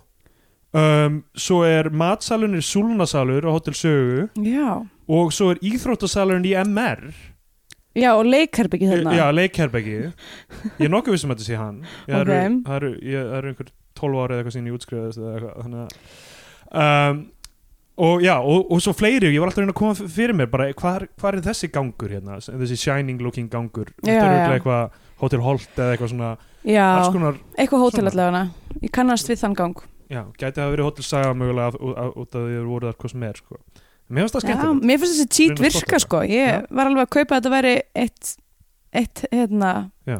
um, svo er matsalun er súlunasalur á Hotel Sögu
já
og svo er íþróttasalurinn í MR
Já, og leikherbyggi þarna
Já, leikherbeggi Ég er nokkuð vissum að þetta sé hann Ég
Ok.
okay. eru, það eru, ég, það eru einhver 12 ára eða eitthvað sín ég útskrifaðist eða eitthvað þannig að um, og já, og, og svo fleiri, ég var alltaf að reyna að koma f- fyrir mér bara, hvað hvar er þessi gangur hérna þessi shining looking gangur
Já,
þetta er
já.
örugglega eitthvað Hotel Holt eða eitthvað svona
Já,
alls konar,
eitthvað hótel
svona.
allavega Ég kannast við þann gang
já, gæti að verið Hotel Saga mögulega af- ú- á- út af því að þið voru þar hvað sem er, sko Mér finnst það
Já,
skemmtilegt
mér finnst þessi
Reyna
cheat
að spotta
virka
þetta.
sko Ég
Já.
var alveg að kaupa að þetta væri eitt, eitt hérna
Já.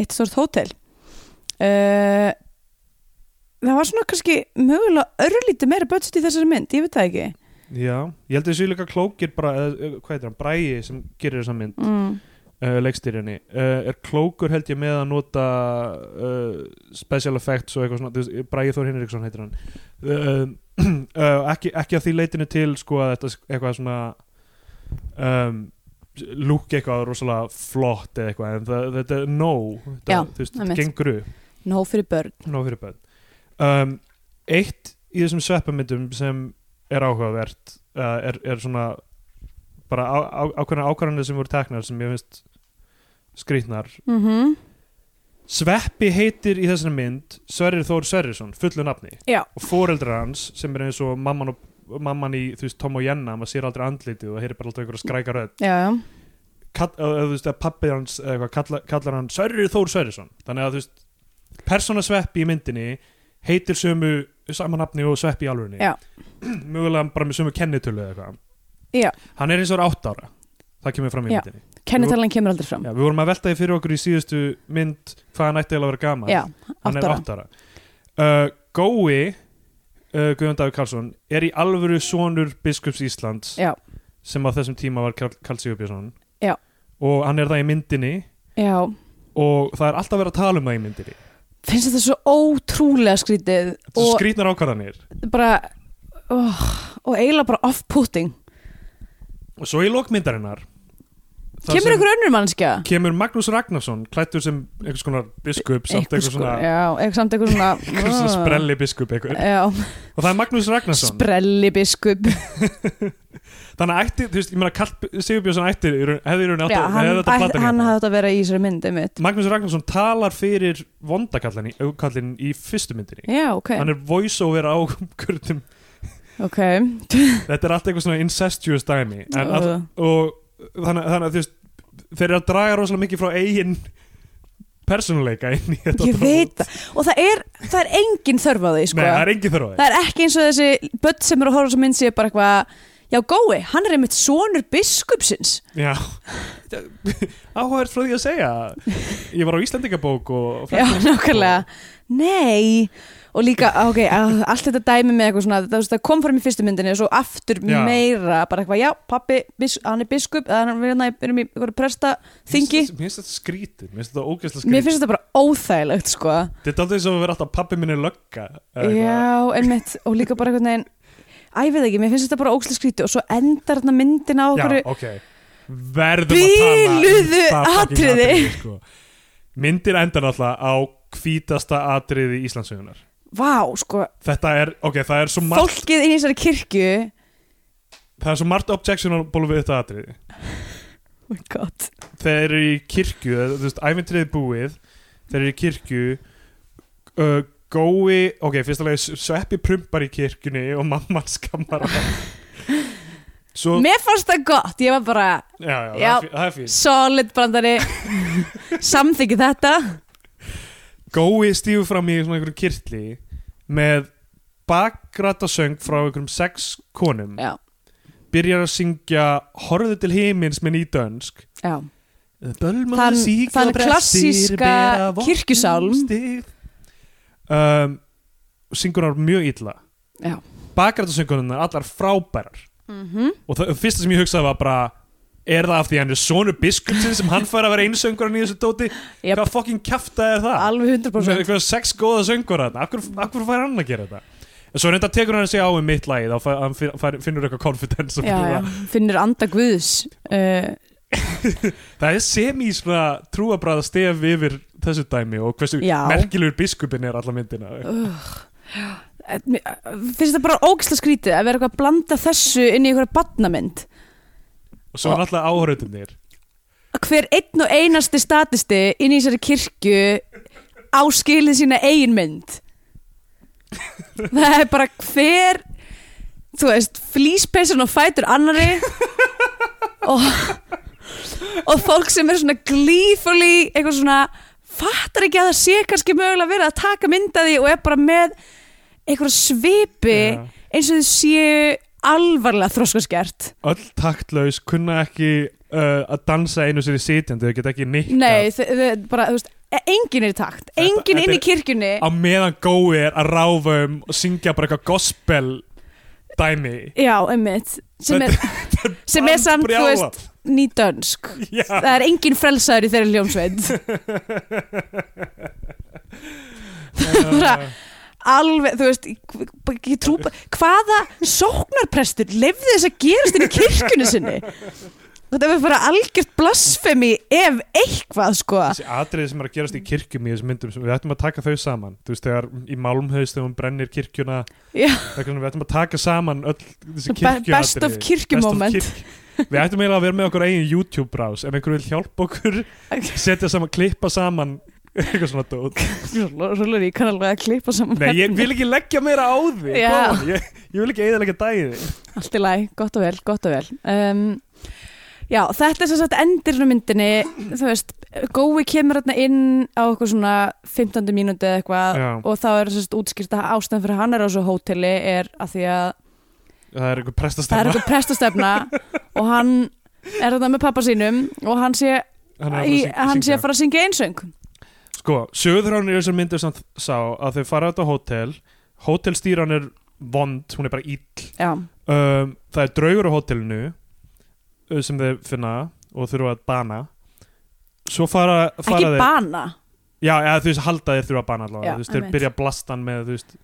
eitt stort hótel uh, Það var svona kannski mögulega örlítið meira budget í þessari mynd, ég veit það ekki
Já, ég held að þessi líka klókir bara, eða, eða, hvað heitir hann, Bræi sem gerir þessa mynd
mm.
uh, leikstýrinni uh, er klókur held ég með að nota uh, special effects og eitthvað svona þú veist, Bragi Þór Hinriksson heitir hann uh, uh, ekki, ekki að því leitinu til sko að þetta s- eitthvað svona um, lúk eitthvað rosalega flott eða eitthvað en það, þetta er no þetta,
Já,
þú veist,
einmitt.
þetta gengur upp
Nó fyrir börn
nóg fyrir bönn um, eitt í þessum sveppamyndum sem er áhugavert uh, er, er svona bara á- á- ákveðna ákvarðanir sem voru teknar sem ég finnst skrýtnar
mm
Sveppi heitir í þessari mynd Sverrir Þór Sverrisson, fullu nafni
Já.
og foreldrar hans sem er eins og mamman, og, mamman í þú veist, Tom og Jenna maður sér aldrei andlitið og það heyrir bara alltaf einhverja skræka rödd
Já, já,
Kall, eða, eða, þú veist, að pappi hans eða eitthvað, kalla, kallar hann Sverrir Þór Sverrisson þannig að þú veist, persóna Sveppi í myndinni heitir sömu sama nafni og Sveppi í alvörinni
Já.
mögulega bara með sömu kennitölu eða
Já.
eitthvað hann er eins og er átt ára það kemur fram í
Já.
myndinni
kennitalan kemur aldrei fram
Já, við vorum að velta því fyrir okkur í síðustu mynd hvað hann ætti eiginlega að vera gaman
Já,
hann er
áttara.
áttara uh, Gói uh, Guðjón Davíð Karlsson er í alvöru sonur biskups Íslands
Já.
sem á þessum tíma var Karl, Karl Sigurbjörnsson
Já.
og hann er það í myndinni
Já,
og það er alltaf verið að tala um það í myndinni
finnst þetta svo ótrúlega skrítið
Þetta og...
og
skrýtnar ákvarðanir
bara oh, og eiginlega bara off-putting
og svo í lokmyndarinnar þar
Kemur
sem
einhver önnur mannskja?
kemur Magnús Ragnarsson klættur sem einhvers konar biskup samt einhvers svona,
Já, Eh, eitthvað samt eitthvað svona Ah,
einhvers svona sprelli biskup einhver.
Já,
og það er Magnús Ragnarsson
sprelli biskup
þannig að ætti, þú veist, ég meina Karl Sigurbjörnsson ætti, í raun- hefði í raun átt
Já,
að-
hann,
hefði þetta
ætl-
platað
hann
hérna.
hafði þetta að vera í þessari mynd einmitt.
Magnús Ragnarsson talar fyrir vondakallin í, kallinn í fyrstu myndinni
Já, ok,
hann er voiceover á kurdum
ok
þetta er allt eitthvað svona incestuous dæmi en, all,
Uh.
og þannig, þannig að þú veist þeir eru að draga rosalega mikið frá eigin persónuleika inn í þetta
Ég veit það, og það er, það er engin þörf á því
Nei,
sko.
það er engin þörf á
það er ekki eins og þessi börn sem eru að horfa sem mynd sér bara eitthvað Já, gói, hann er einmitt sonur biskupsins
því Já Áhugavert frá því að segja Ég var á Íslandingabók og
Já, nákvæmlega Nei Og líka, ok, að- allt þetta dæmi með eitthvað svona Það, það kom fram í fyrstu myndinni og svo aftur
Já.
meira Bara eitthvað, já, pappi, bis, hann er biskup eða Hann er hérna í- erum í eitthvað presta þingi
Mér finnst þetta skrítið, mér finnst þetta ógeðslega
Mér
skrítið
finnst þetta bara óþægilegt, sko
Þetta er aldrei eins og að vera alltaf pappi minni lögga eða eitthvað.
Já, einmitt, og líka bara eitthvað neginn Æ, ég veit ekki, mér finnst þetta bara ókslega skríti Og svo endar þarna myndin á okkur
Já, ok Verðum
Bíluðu
að tala um það fucking
atriði.
sko. Myndir endar alltaf á hvítasta atriði Íslandsögunar
Vá, sko,
Þetta er, ok, það er svo margt
fólkið inn í þessari kirkju
Það er svo margt objectionable við þetta atriði
Oh my god
Þeir eru í kirkju, eða, þú veist, æfintriði búið Þeir eru í kirkju uh, Gói, ok, fyrst að leið Sveppi prumpar í kirkjunni og mamman skammar hann. Svo,
Mér fannst það gott, ég var bara
já, já,
Já.
Það, er, fí- það er fín
solid brandari Samþykki þetta
Gói stífur fram í svona einhverjum kirtli með bakgratasöng frá einhverjum sex konum
Já,
byrjar að syngja Horðu til himins með nýdönsk
já
Bölmaður
Þann-
síkja
þann klassíska kirkjusálm.
um, syngur hann mjög illa
Já.
bakgratasöngunar allar frábærar og það fyrsta sem ég hugsaði var bara er það af því hann er sonu biskupsin sem hann fær að vera einsöngurinn í þessu dóti
Jep.
hvað fucking kjafta er það
Alveg
með
100%
eitthvað sex góða söngur hann akkur, akkur fær hann að gera þetta en svo reynda tekur hann sig á um mitt lagi þá fær, hann fi- fær, finnur eitthvað confidence og
já, já.
bara-
Finnur anda guðs uh,
það er sem í svona trúabræða stef yfir þessu dæmi og hversu
Já. Uh,
merkilegur biskupin er alla myndina
eh, mér- eh, Finnst það bara ógislega skrítið að vera eitthvað að blanda þessu inn í einhverja badnamynd
og svo er alltaf áhörðunir
hver einn og einasti statisti inn í þessari kirkju á skilið sína eigin mynd það er bara hver þú veist, flýspeysan og fætur annari og, og fólk sem er svona glífulí eitthvað svona fattar ekki að það sé kannski mögulega verið að taka mynda því og er bara með eitthvað svipi
Já.
eins og þau séu alvarlega þróskaskert
öll taktlaus kunna ekki uh, að dansa einu sér í sitjandi þau geta ekki nikka
Nei, þe- þe- bara, þú veist, e- enginn er í takt Enginn
þetta
inn í
er-
kirkjunni
á meðan gói er að ráfa um og syngja bara eitthvað gospel dæmi
Já, einmitt Sem er, sem er samt, þú veist, nýdönsk
Já,
Það er enginn frelsaður í þeirri hljómsveit bara- Alveg, þú veist, ég- ég trú Hvaða sóknarprestur lefði þess að gerast inn í kirkjunni sinni? Þetta er bara algjört blasfemi ef eitthvað, sko
þessi atriði sem er að gerast í kirkjum í þessum myndum, sem- við ættum að taka þau saman þú veist, þegar í málumhaust þegar hún brennir kirkjuna
Já.
þegar við ættum að taka saman öll þessi
Be- best
kirkjuatriði.
of kirkju
Best of
moment.
kirk- við ættum eiginlega að vera með okkur eigin YouTube rás ef einhver vil hjálpa okkur setja saman, klippa saman eitthvað svona dót
Rúlar, ég kann alveg að klippa saman
Nei, ég vil ekki leggja meira á því
Já.
yeah. ég, ég vil ekki eiginlega dæði
Allt í lagi, gott og vel, gott og vel um, Já, þetta er sem sagt endirinu myndinni, þú veist Gói kemur hérna inn á eitthvað svona 15. mínúti eða eitthvað
Já.
og þá er sem sagt útskýrt að ástæðan fyrir að hann er á þessu hóteli er að því að
Það er einhver
það er
prestastefna
eitthvað prestastefna og hann er þarna með pappa sínum og hann sé,
Hann er að fara að
í,
syng-
hann sé
syngja.
að fara að syngja einsöng
Sko, sögurþránir í þessar myndir sem sá að þau fara á þetta hótel hótelstýran er vond, hún er bara ill
Já,
um, Það er draugur á hótelinu uh, sem þau finna og þurfa að bana Svo fara, fara
ekki
þeir
bana
Já, eða þú veist, halda þeir þurfa að bana allavega
Já,
Þú veist, þeir
einmitt.
byrja að blasta hann með, þú veist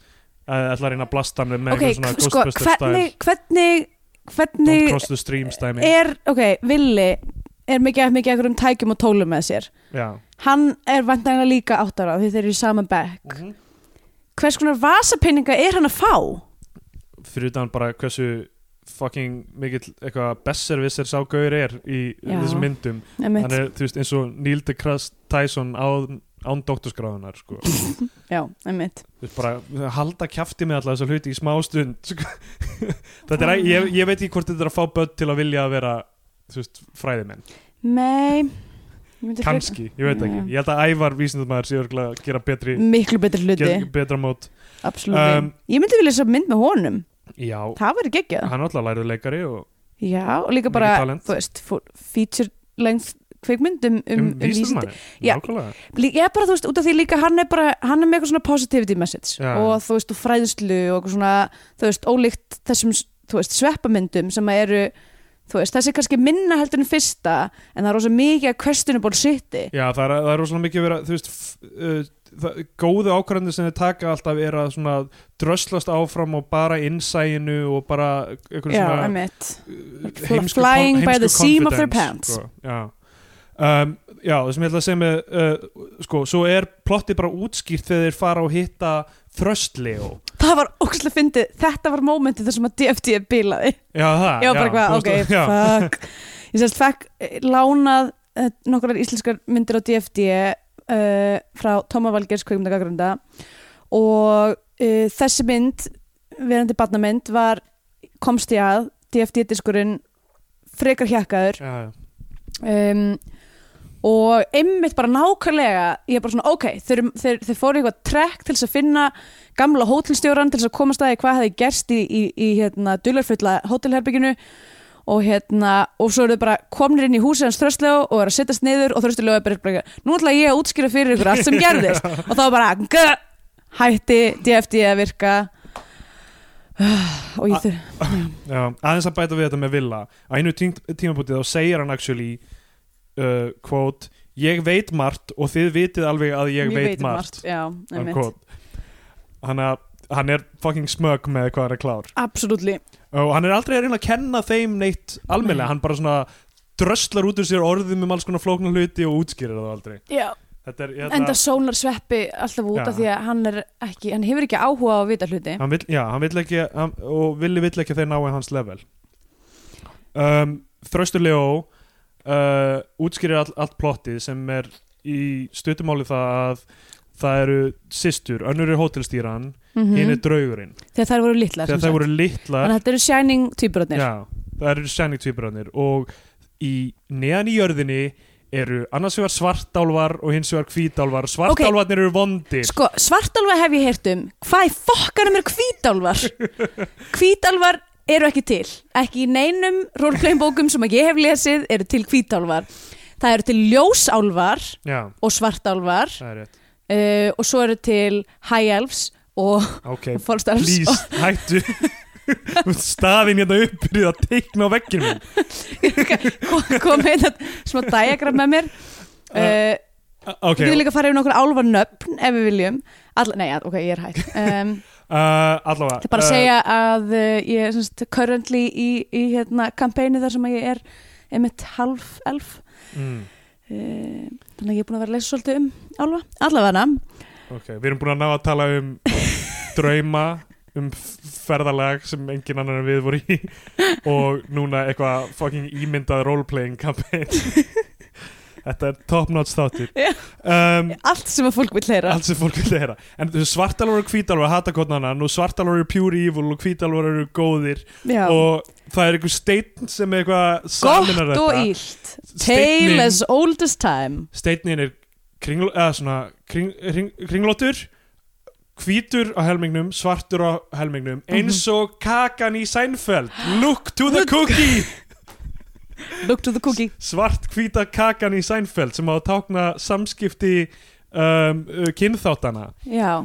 Það ætla að reyna að blasta hann með
Ok,
eitthvað svona
sko,
Ghostbusters
hvernig, hvernig,
style Don't
hvernig
cross the stream stæmi
er, ok, villi er mikið, mikið ekkur um tækjum og tólum með sér
Já
Hann er vantanlega líka áttara því þeir eru í sama bekk.
Mhm.
Hvers konar vasapinninga er hann að fá?
fyrir utan bara hversu fucking mikill eitthvað besservisser sá gaur er í
Já.
þessum myndum hann
Einmitt.
er þú veist eins og Neil deGrasse Tyson án, án doktorskráðunar sko. þú
Já, einmitt.
veist bara halda kjafti með alla þessa hluti í smá stund sko. þetta er, að- ég, ég veit ekki hvort þetta er að fá börn til að vilja að vera þú veist fræðimenn,
Nei. ég myndi
kannski, ég veit ekki
Já.
ég held að ævar vísindumæður sé örugglega að gera betri
frekar- Miklu betri hluti,
gera betra mót,
absolutt.
Um,
ég myndi vilja þess að mynd með honum.
já
Það væri geggjað.
hann alltaf lærið leikari og
Já, og líka
Mikið
bara,
talent.
þú veist, fó- feature length kveikmynd um, um, um vísindi.
vísindumæður,
Já.
nákvæmlega
Lí- Ég er bara, þú veist, út af því líka hann er bara, hann er með eitthvað svona positivity message
Já.
og þú veist, og fræðslu og eitthvað svona, þú veist, ólíkt þessum, þú veist, sveppamyndum sem að eru, þú veist, þessi er kannski minna heldur en fyrsta, en það er rosa mikið að questionable shiti.
Já, það er, það er rosalega mikið að vera, þú veist, f- uh, það, góðu ákvarðanir sem þið taka alltaf er að svona dröslast áfram og bara innsæginu og bara einhverju
Já,
svona
emitt.
uh,
fl-
heimsku,
flying
kon-
by
heimsku
the seam of their
confidence,
pants.
Sko. Já. Um, já, það sem ég ætla að segja með, uh, sko, svo er plottið bara útskýrt þegar þeir fara og hitta þröstlegu.
Það var ógæslega fyndið, þetta var mómentið þar sem að DFT bilaði.
Já, það.
Ég var
þú
bara eitthvað, ok,
veist, já.
fuck. Ég sérst, fekk eh, lánað eh, nokkrar íslenskar myndir á DFD uh, frá Tóma Valgers kveikmyndagagrunda og uh, þessi mynd, verandi barnamynd, var, komst ég að DFD-diskurinn frekar hjakkaður
Já, já.
um, og einmitt bara nákvæmlega ég er bara svona ok, þeir, þeir, þeir fóru í eitthvað trekk til þess að finna gamla hótelstjóran til þess að komast að því hvað hefði gerst í, í, í hérna dularfulla hótelherbygginu og hérna og svo eru þau bara komnir inn í húsið hans þröstlegu og eru að sittast niður og þröstlegu er bara eitthvað, nú ætla ég að útskýra fyrir ykkur allt sem gerðist og þá er bara gö, hætti DFD að virka og
Ah,
ég þurr
Já, aðeins að bæta við þetta með Villa á einu tím tímabútið þá segir hann actually uh, quote ég veit margt og þið vitið alveg að ég, veit, margt,
um já, einmitt,
margt. hann að hann er fucking smög með hvað hann er klár
absolutt
og hann er aldrei að reyna að kenna þeim neitt almennilega, hann bara svona dröslar út úr sér orðum um alls konar flóknar hluti og útskýrir það aldrei
já,
þetta er, hérna- ég,
Enda sónar sveppi alltaf út
Já.
af því að hann, er ekki, hann hefur ekki áhuga á að vita hluti.
hann vill, já, hann vill ekki hann, og villi vill ekki að þeir náu hans level um, Þröstur Leó uh, útskýrir all, allt plottið sem er í stuttumáli það að það eru systur, önnur er hótelstýran
mm
hinn er draugurinn,
Þegar þær voru litlar
þegar
sem
það
sagt.
voru litlar
Þannig að þetta eru shining týpurarnir
já, það eru sæning tvíburarnir og í neðan í jörðinni eru annars vegar svartálvar og hins vegar hvítálvar svartálvarnir eru vondir
Sko, svartálfa hef ég heyrt um Hvað í fokkanum er hvítálfar? hvítálfar eru ekki til Ekki í neinum roleplaying bókum sem ekki ég hef lesið eru til hvítálfar Það eru til ljósálfar
já,
og svartálfar
það er rétt
uh, og svo eru til high elves og
ok,
fólkstarfs
please, hættu Þú ert staðin hérna upp byrjuð að teikna á vegginu minn
kom einn smá diagram með mér uh,
ok,
Við getum líka að fara yfir nokkur álfarnöfn ef við viljum All, Nei, ja, ok, ég er hægt um,
uh, allavega
Það er bara að
uh,
segja að uh, ég er semst currently í, í hérna kampæni þar sem að ég er einmitt half elf
mm,
uh, Þannig að ég er búin að vera að lesa svolítið um álfa Allavega
ok, við erum búin að ná að tala um drauma um ferðalag sem engin annar en við voru í og núna eitthvað fucking ímyndað roleplaying campaign þetta er top notch þáttir
Já.
um,
Allt sem að fólk vil heyra
allt sem fólk vil heyra en svartalvar og hvítalvar hata hvort annan og svartalvar eru pure evil og hvítalvar eru góðir
Já.
og það er einhver steinn sem eitthvað saminar
Gott og
þetta
ílt Tale as old as time
steinin er kringl, eða svona, kring, kring, kringlóttur hvítur á helmingnum svartur á helmingnum
Mhm.
eins og kakan í Seinfeld look to the cookie
Look to the cookie
svart hvíta kakan í Seinfeld sem á að tákna samskipti um, uh, kynþáttana
Já,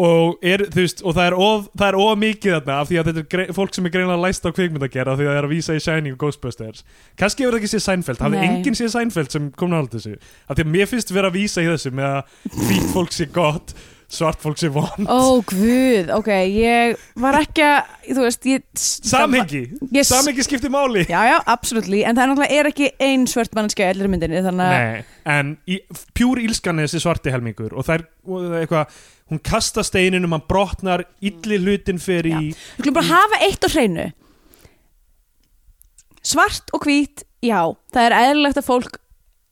og, er, þú veist, og það, er of, það er of mikið þarna af því að þetta er grei, fólk sem er greinlega læst á kvikmyndagerð af því að það er að vísa í Shining og Ghostbusters kannski hefur það ekki séð Seinfeld, hafði
Nei.
enginn séð Seinfeld sem kom nátt þessu af því að mér finnst vera að vísa í þessu með að hvít fólk sé gott svart fólk sé von
ó guð, ok, ég var ekki að, þú veist, ég...
samhengi,
Yes.
samhengi skiptir máli
Já, já, absolutt, en það er náttúrulega er ekki ein svört mannskja í allir myndinni, þannig að...
Nei, en í, pjúr ílskan er þessi svarti helmingur og það er og það er eitthvað, hún kasta steininum, hann brotnar illi hlutin fyrir í
Við skulum bara hafa eitt á hreinu. Svart og hvít, já, það er eðlilegt að fólk,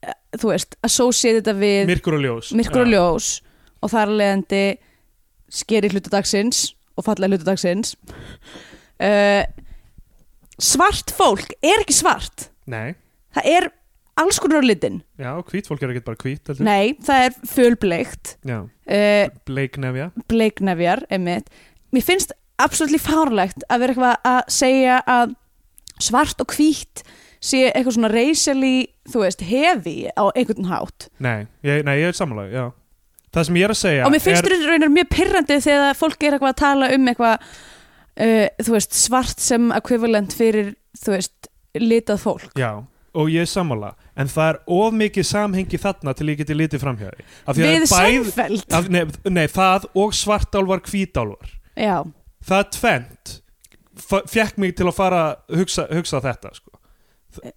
eh, þú veist, associate þetta við
myrkur og ljós
myrkur og
Já.
ljós og þar af leiðandi skeri hlutadagsins og fallega hlutadagsins. Uh, svart fólk er ekki svart,
Nei,
það er alls konar á litin.
já, hvít fólk er ekkert bara hvít heldur.
Nei, það er fölbleikt
Já,
uh,
bleiknefja
bleiknefjar, einmitt Mér finnst absolutt fárlegt að vera eitthvað að segja að svart og hvítt sé eitthvað svona reyseli, þú veist, hefi á einhvern hátt
Nei, ég, nei, ég er sammálaug, já Það sem ég er að segja
og mér finnst
er,
þetta raunar mjög pyrrandi þegar fólk er eitthvað að tala um eitthvað uh, þú veist, svart sem equivalent fyrir, þú veist, litað fólk
Já, og ég er sammála En það er of mikið samhengi þarna til ég geti litið framhjáði
Við samfeld
af, nei, nei, það og svartálvar, hvítálvar
Já,
Það er tvent Fjekk mig til að fara að hugsa, hugsa þetta sko.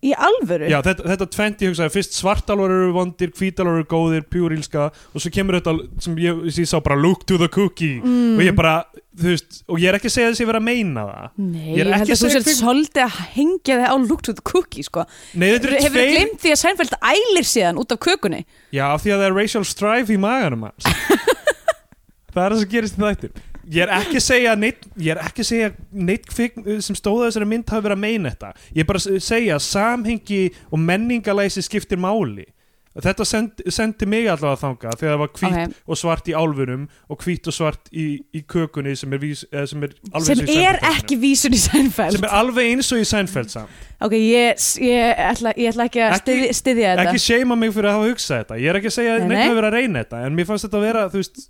í alvöru
Já, þetta, þetta tvent ég hugsaði Fyrst svartálvar eru vondir, hvítálvar eru góðir Pjúrílska og svo kemur þetta sem ég, ég sá bara look to the cookie
Mm.
og ég bara, þú veist og ég er ekki að segja þessi vera að meina það
Nei,
Ég
ég,
er
held
ekki
að þú
að segja
sér
kvikmynd-
svolítið að hengja þig á look to the cookie, sko
Nei, þetta eru
Hefur
tveir
þú glemt því að Seinfeld ælir síðan út af kökunni?
Já, af því að það er racial strife í maganum hans Það er það sem gerist í þættir Ég er ekki að segja að neitt, ég er ekki að segja að neitt kvik, sem stóða þessari mynd hafi verið að meina þetta Ég er bara að segja að samhengi og menningalæsi skiptir máli Þetta send, sendi mig allavega þangað þegar það var hvít
Ok.
og svart í álfunum og hvít og svart í, í kökunni sem er, vís, eh, sem er alveg
sem
eins og í
er
Seinfeld-þættinum.
ekki vísun í Seinfeld
sem er alveg eins og í Seinfeld samt
ok, ég, ég, ætla, ég ætla ekki að
Ekki-
styðja, styðja þetta
ekki seima mig fyrir að hafa hugsað þetta ég er ekki að segja
Nei,
að neitt
nei.
hafi verið að reyna þetta en mér fannst þetta að vera þú veist,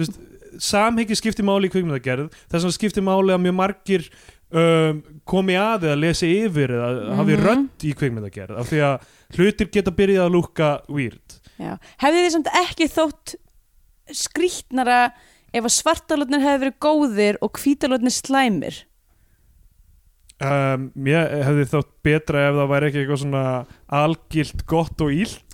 þú veist, samhengi skipti máli í kvikmyndagerð þess vegna skipti máli að mjög margir um, komi að eða lesi yfir eða hafi
Mhm.
rödd í kvikmyndagerð af því að hlutir geta byrjað að lúka weird
Já. hefði þið samt ekki þótt skrýtnara ef að svartalotnir hefði verið góðir og hvítalotnir slæmir
um, ég hefði þótt betra ef það væri ekki eitthvað svona algilt gott og ílt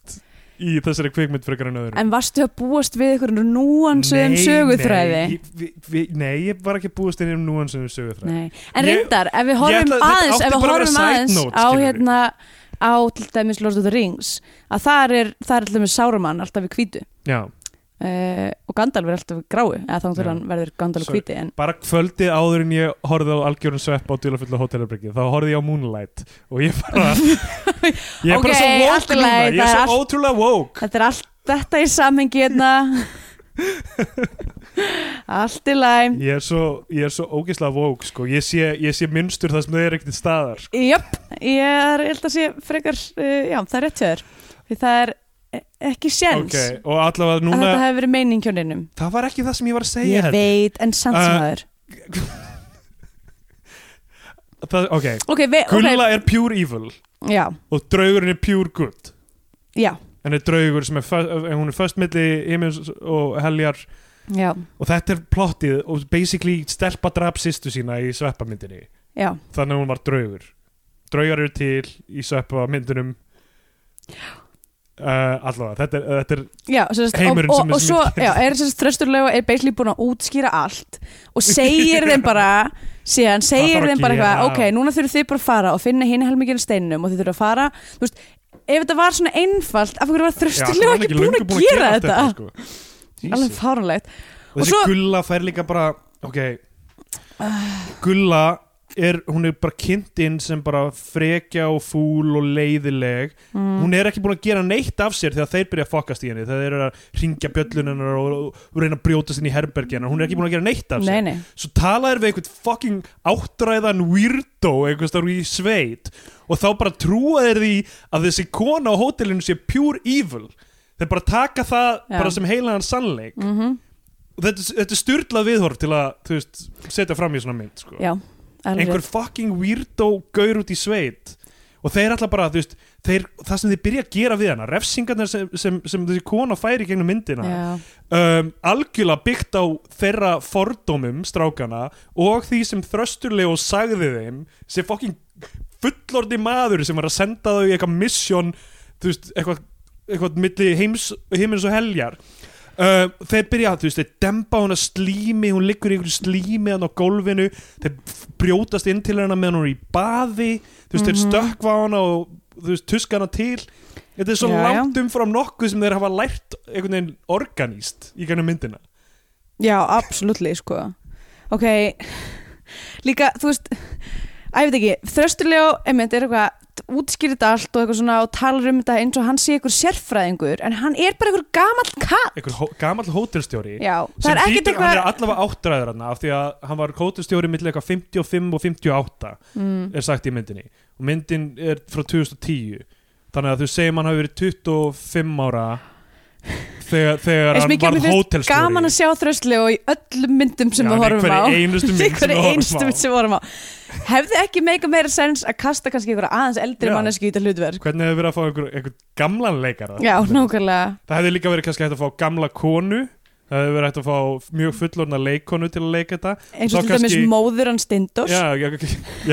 í þessari kvikmynd frekar en öðru
en varstu að búast við ykkur núansum söguþræði
nei, ég- vi- vi- nei, ég var ekki búist inn um núansum söguþræði
Nei. en
Ég-
reyndar, ef við
ég
horfum
ætla- þetta
aðeins
átti
ef við
bara að vera
horfum
side
aðeins
note,
á
skilurðu.
hérna á á til dæmis Lord of the Rings að þar er, þar er til dæmis Sáruman alltaf í hvítu
já,
uh, og Gandalf er alltaf í gráu eða þá
Já.
til hann verður Gandalf
Sorry.
hvíti en
bara kvöldi áður en ég horfði á algjörun svepp á dýlafulla hótelarbyggi þá horfði ég á Moonlight og ég bara ég er bara
Ok,
svo
allt
woke
í
núna ég er
lagi, það er
svo
allt-
ótrúlega woke
þetta er allt þetta í samhengi hérna allt í læm
ég er svo, ég er svo ógeðslega woke sko. ég, sé, ég sé mynstur það sem þau eru ekkert staðar sko.
jöp, ég er ég held að sé frekar, uh, já það er rétt hjá þér því það er e- ekki séns
ok, og allavega
að
núna
þetta hefur verið meining hjóninum
það var ekki það sem ég var að segja
ég
held
veit, en samt sem
Uh,
það er
það, ok,
ok, ve-
Gulla
ok,
er pure evil
já,
og draugurinn er pure good
já,
en er draugur sem er, föst, en hún er föst milli himins og heljar
já
og þetta er plottið og basically stelpa drap sýstu sína í sveppamyndinni
já,
þannig að hún var draugur draugar eru til í sveppamyndunum uh, allavega þetta er, þetta er
já sérst, og,
Heimurinn
og,
sem er
og svo
sem-
já, er sérst þrösturlega er basically búin að útskýra allt og segir þeim bara síðan segir
þarf að
þeim bara eitthvað
gera?
ok, núna þurfum þið bara að fara og finna hinn helmingin af steinum og þið þurfum að fara þú veist, ef þetta var svona einfalt af hverju var
Já, ætli hún
þrösturlega
er
ekki búin
löngu
að
allt
gera þetta
sko.
alveg
Jesus.
fárunlegt
og
Og
þessi
svo-
gulla fær líka bara ok gulla er, hún er bara kynnt inn sem bara frekja og fúl og leiðileg
Mm.
hún er ekki búin að gera neitt af sér þegar þeir byrja að fokast í henni þegar þeir eru að ringja bjöllunennar og, og, og reyna að brjótast inn í herbergi hennar hún er ekki búin að gera neitt af sér
nei, nei,
svo talaðir við einhvern fucking áttræðan weirdo einhvers þar í sveit og þá bara trúa þeir því að þessi kona á hótelinu sé pure evil þeir bara taka það
Já.
bara sem heilagan sannleik
Mhm.
og þetta, þetta er styrlað viðhorf til að þú veist, setja fram í svona mynd sko.
já alveg
einhver
rétt.
fucking weirdo gaur út í sveit og þeir alltaf bara, þú veist þeir, það sem þeir byrja að gera við hana refsingarnar sem, sem, sem þessi kona færi gegnum myndina
Já.
um, algjörlega byggt á þeirra fordómum strákana og því sem þrösturlegu sagði þeim sem fokking fullordi maður sem var að senda þau í eitthvað misjón þú veist, eitthvað, eitthvað milli heims, heimins og heljar Uh, þeir byrja að, þú veist, þeir dempa hún að slími hún liggur í einhverju slími hann á gólfinu þeir f- brjótast inn til hennar meðan hún er í baði þú veist,
Mhm.
þeir stökkva hana og þú veist, tuska hana til þetta er svo
Já, já.
langt umfram nokkuð sem þeir hafa lært einhvern veginn organíst í gænum myndina
Já, absoluttli, sko Ok, líka, þú veist Æ, ég veit ekki, þröstulega einmitt er eitthvað útskýrit allt og eitthvað svona og talar um þetta eins og hann sé eitthvað sérfræðingur en hann er bara eitthvað gamall kall
einhver hó gamall hótelstjóri
Já, það
sem
er
hlýtur-
ekkert
hann
eitthvað
er allavega áttræður hann af því að hann var hótelstjóri millir eitthvað 55 og 58
mm,
er sagt í myndinni og myndin er frá 2010 þannig að þú segir hann hafi verið 25 ára þegar, þegar
Eins
hann
mikið að
var
mér
hótelstjóri
Gaman að sjá þröstulega og í öllum myndum sem
Já,
við
hann er
horfum á
hverri einustu mynd sem
Hverri
við horfum
einustu
á.
mynd sem við horfum á Hefði ekki meika meira sens að kasta kannski einhverja aðeins eldri
Já.
manneski í þetta hlutverk
hvernig hefur verið að fá einhver, einhver gamlan leikara
Já, nákvæmlega
það hefði líka verið kannski hægt að fá gamla konu það hefði verið hægt að fá mjög fullorna leikonu til að leika þetta Þá
eins og til dæmis
kannski-
móður hann Steindors
já, já,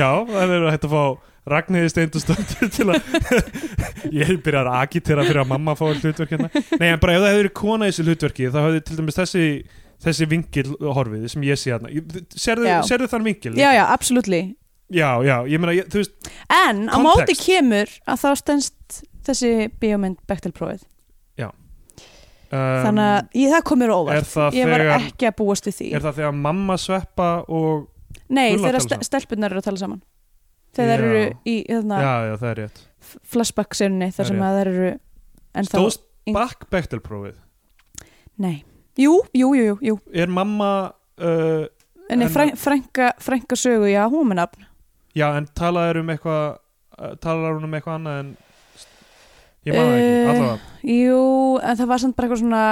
já, það er hægt að fá Ragnhildi Steindustóttir til að ég byrjar að agitera fyrir að mamma fá hlutverk hérna nei, en bara ef það hefur verið kona í þessu hlutverki þá hefði til dæmis þessi þessi vingil horfið sem ég sé hérna serðu,
Já.
serðu þann vingil?
já, já, absoluttli
já, já, ég meina, ég, þú veist
En á
Context.
móti kemur að þá stendst þessi bíómynd Bechtel-prófið.
um,
Þannig að ég, það komir
er
óvart.
það,
Ég var
þegar,
ekki að búast við því.
er það þegar mamma sveppa og
Nei,
Gulla
þegar
tala saman?
ste- stelpurnar eru að tala saman. Þegar
Já.
þær eru í hérna,
já, já, það er rétt
flashback-sérunni
Það er
þar sem að þær eru ennþá...
stóðst
yng-
bakk Bechtelprófið
Nei. Jú, jú, jú, jú. jú.
er mamma uh,
En,
En-
en frænka, frænka sögu, já, hún er með nafn.
Já, en talaður um eitthvað uh, talaður hún um eitthvað annað en ég man það ekki,
Eh,
allavega
Jú, en það var samt bara eitthvað svona...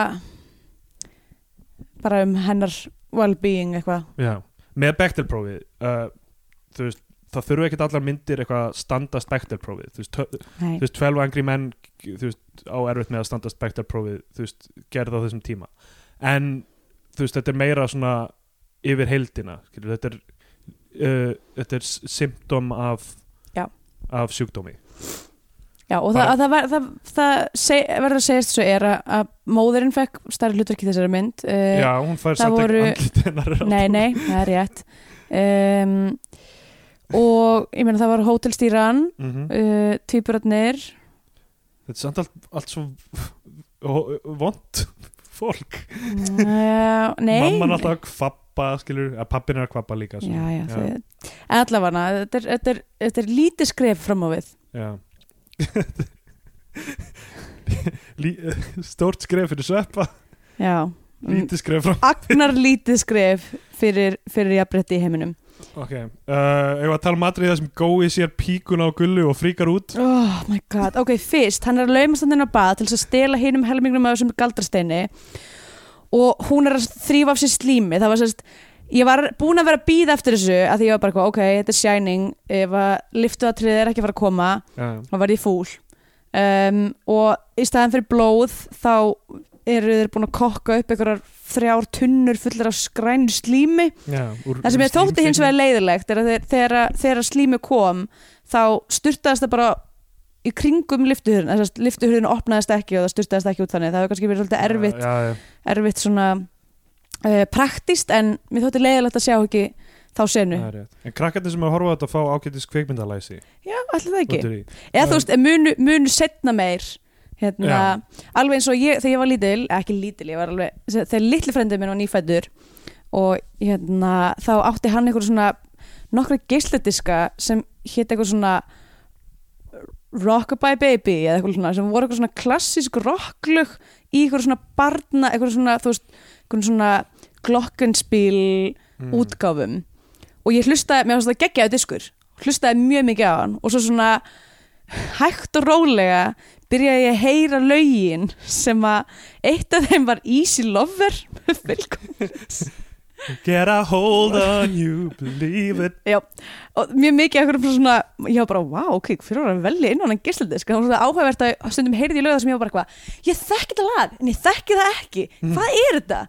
Bara um hennar well-being eitthvað.
Já, með Bechtel-prófið uh, þú veist, það þurfa ekkert allar myndir eitthvað að standast Bechtel-prófið þú veist, tö-
Nei.
þú veist, 12 angry menn þú veist, á erfitt með að standast Bechtel-prófið þú veist, gerði á þessum tíma en þú veist, þetta er meira svona yfir heildina skilur, þetta er uh, þetta er s- symptom af
Já.
af sjúkdómi
Já, og
Bara-
það, það, var, það, það seg, verður að segjast svo er að, að móðurinn fekk stærri hlutverk í þessari mynd. Uh,
Já, hún fær
það
samt
voru-
ekki andlit hennar á
Nei, nei, það er rétt. Um, og ég meina það var hótelstýran
mm
uh, tvíburarnir
Þetta er samt allt, allt svo vond fólk
uh, nei
Mamman er alltaf að kvappa, skilur að pappin er að kvappa líka sko.
já,
svona.
já, já. allavega þetta, er- þetta, er- þetta er lítið skref fram á við
Já Lí, Stórt skref fyrir sveppa
já Mm,
Lítið skref frá
agnar lítið skref fyrir, fyrir jafnbretti í heiminum
Ok, uh, ef að tala um atrið það sem gói sér píkuna á gullu og fríkar út
oh my god, ok, fyrst hann er að laumast hann inn á bað til þess að stela hinum helmingnum af þessum galdrasteini og hún er að þrýfa af sér slími það var sérst, ég var búin að vera að býða eftir þessu að því ég var bara, eitthvað, ok, þetta er Shining ef að liftuatriðið er ekki að fara að koma
Já,
þá var ég fúl um, og í staðan fyrir blóð þá eru þeir búin að kokka upp einhverjar þrjár tunnur fullar af skrænu slími
já úr-
Það sem ég þótti hins vegar leiðilegt er að þegar, þegar, þegar slími kom þá styrtaðist það bara í kringum lyftuhurðin þess að lyftuhurðin opnaðist ekki og það styrtaðist ekki út þannig það hefur kannski verið svolítið erfitt,
Já, já,
erfitt svona uh, praktist en mér þótti leiðilegt að sjá ekki þá senu
það er rétt En krakkarnir sem að horfa á þetta fá ágætis kveikmyndalæsi
Já, allir það ekki
út úr því. Já.
Eða þú veist, munu, munu setna meir hérna, alveg eins og ég, þegar ég var lítil ekki lítil, ég var alveg þegar litli frendið minn var nýfættur og hérna, þá átti hann einhver svona nokkra geisladiska sem hétt eitthvað svona Rockabye Baby eða eitthvað svona, sem voru eitthvað svona klassísk rocklug í eitthvað svona barna eitthvað svona, þú veist, eitthvað svona glokkenspíl
Mm.
útgáfum og ég hlustaði, mér fannst það geggjaði diskur hlustaði mjög mikið á hann og svo svona hægt og rólega byrjaði ég að heyra lögin sem að eitt af þeim var Easy Lover Velkom-
Mm. Get a hold on you, believe it
Já, og mjög mikið ekkur svona, ég var bara, wow, ok, fyrir var að velja inn á hann gíslaldisk, það var svona áhugavert að stundum heyrði í lögða sem ég var bara eitthvað, ég þekki þetta lag, en ég þekki það ekki, hvað er þetta?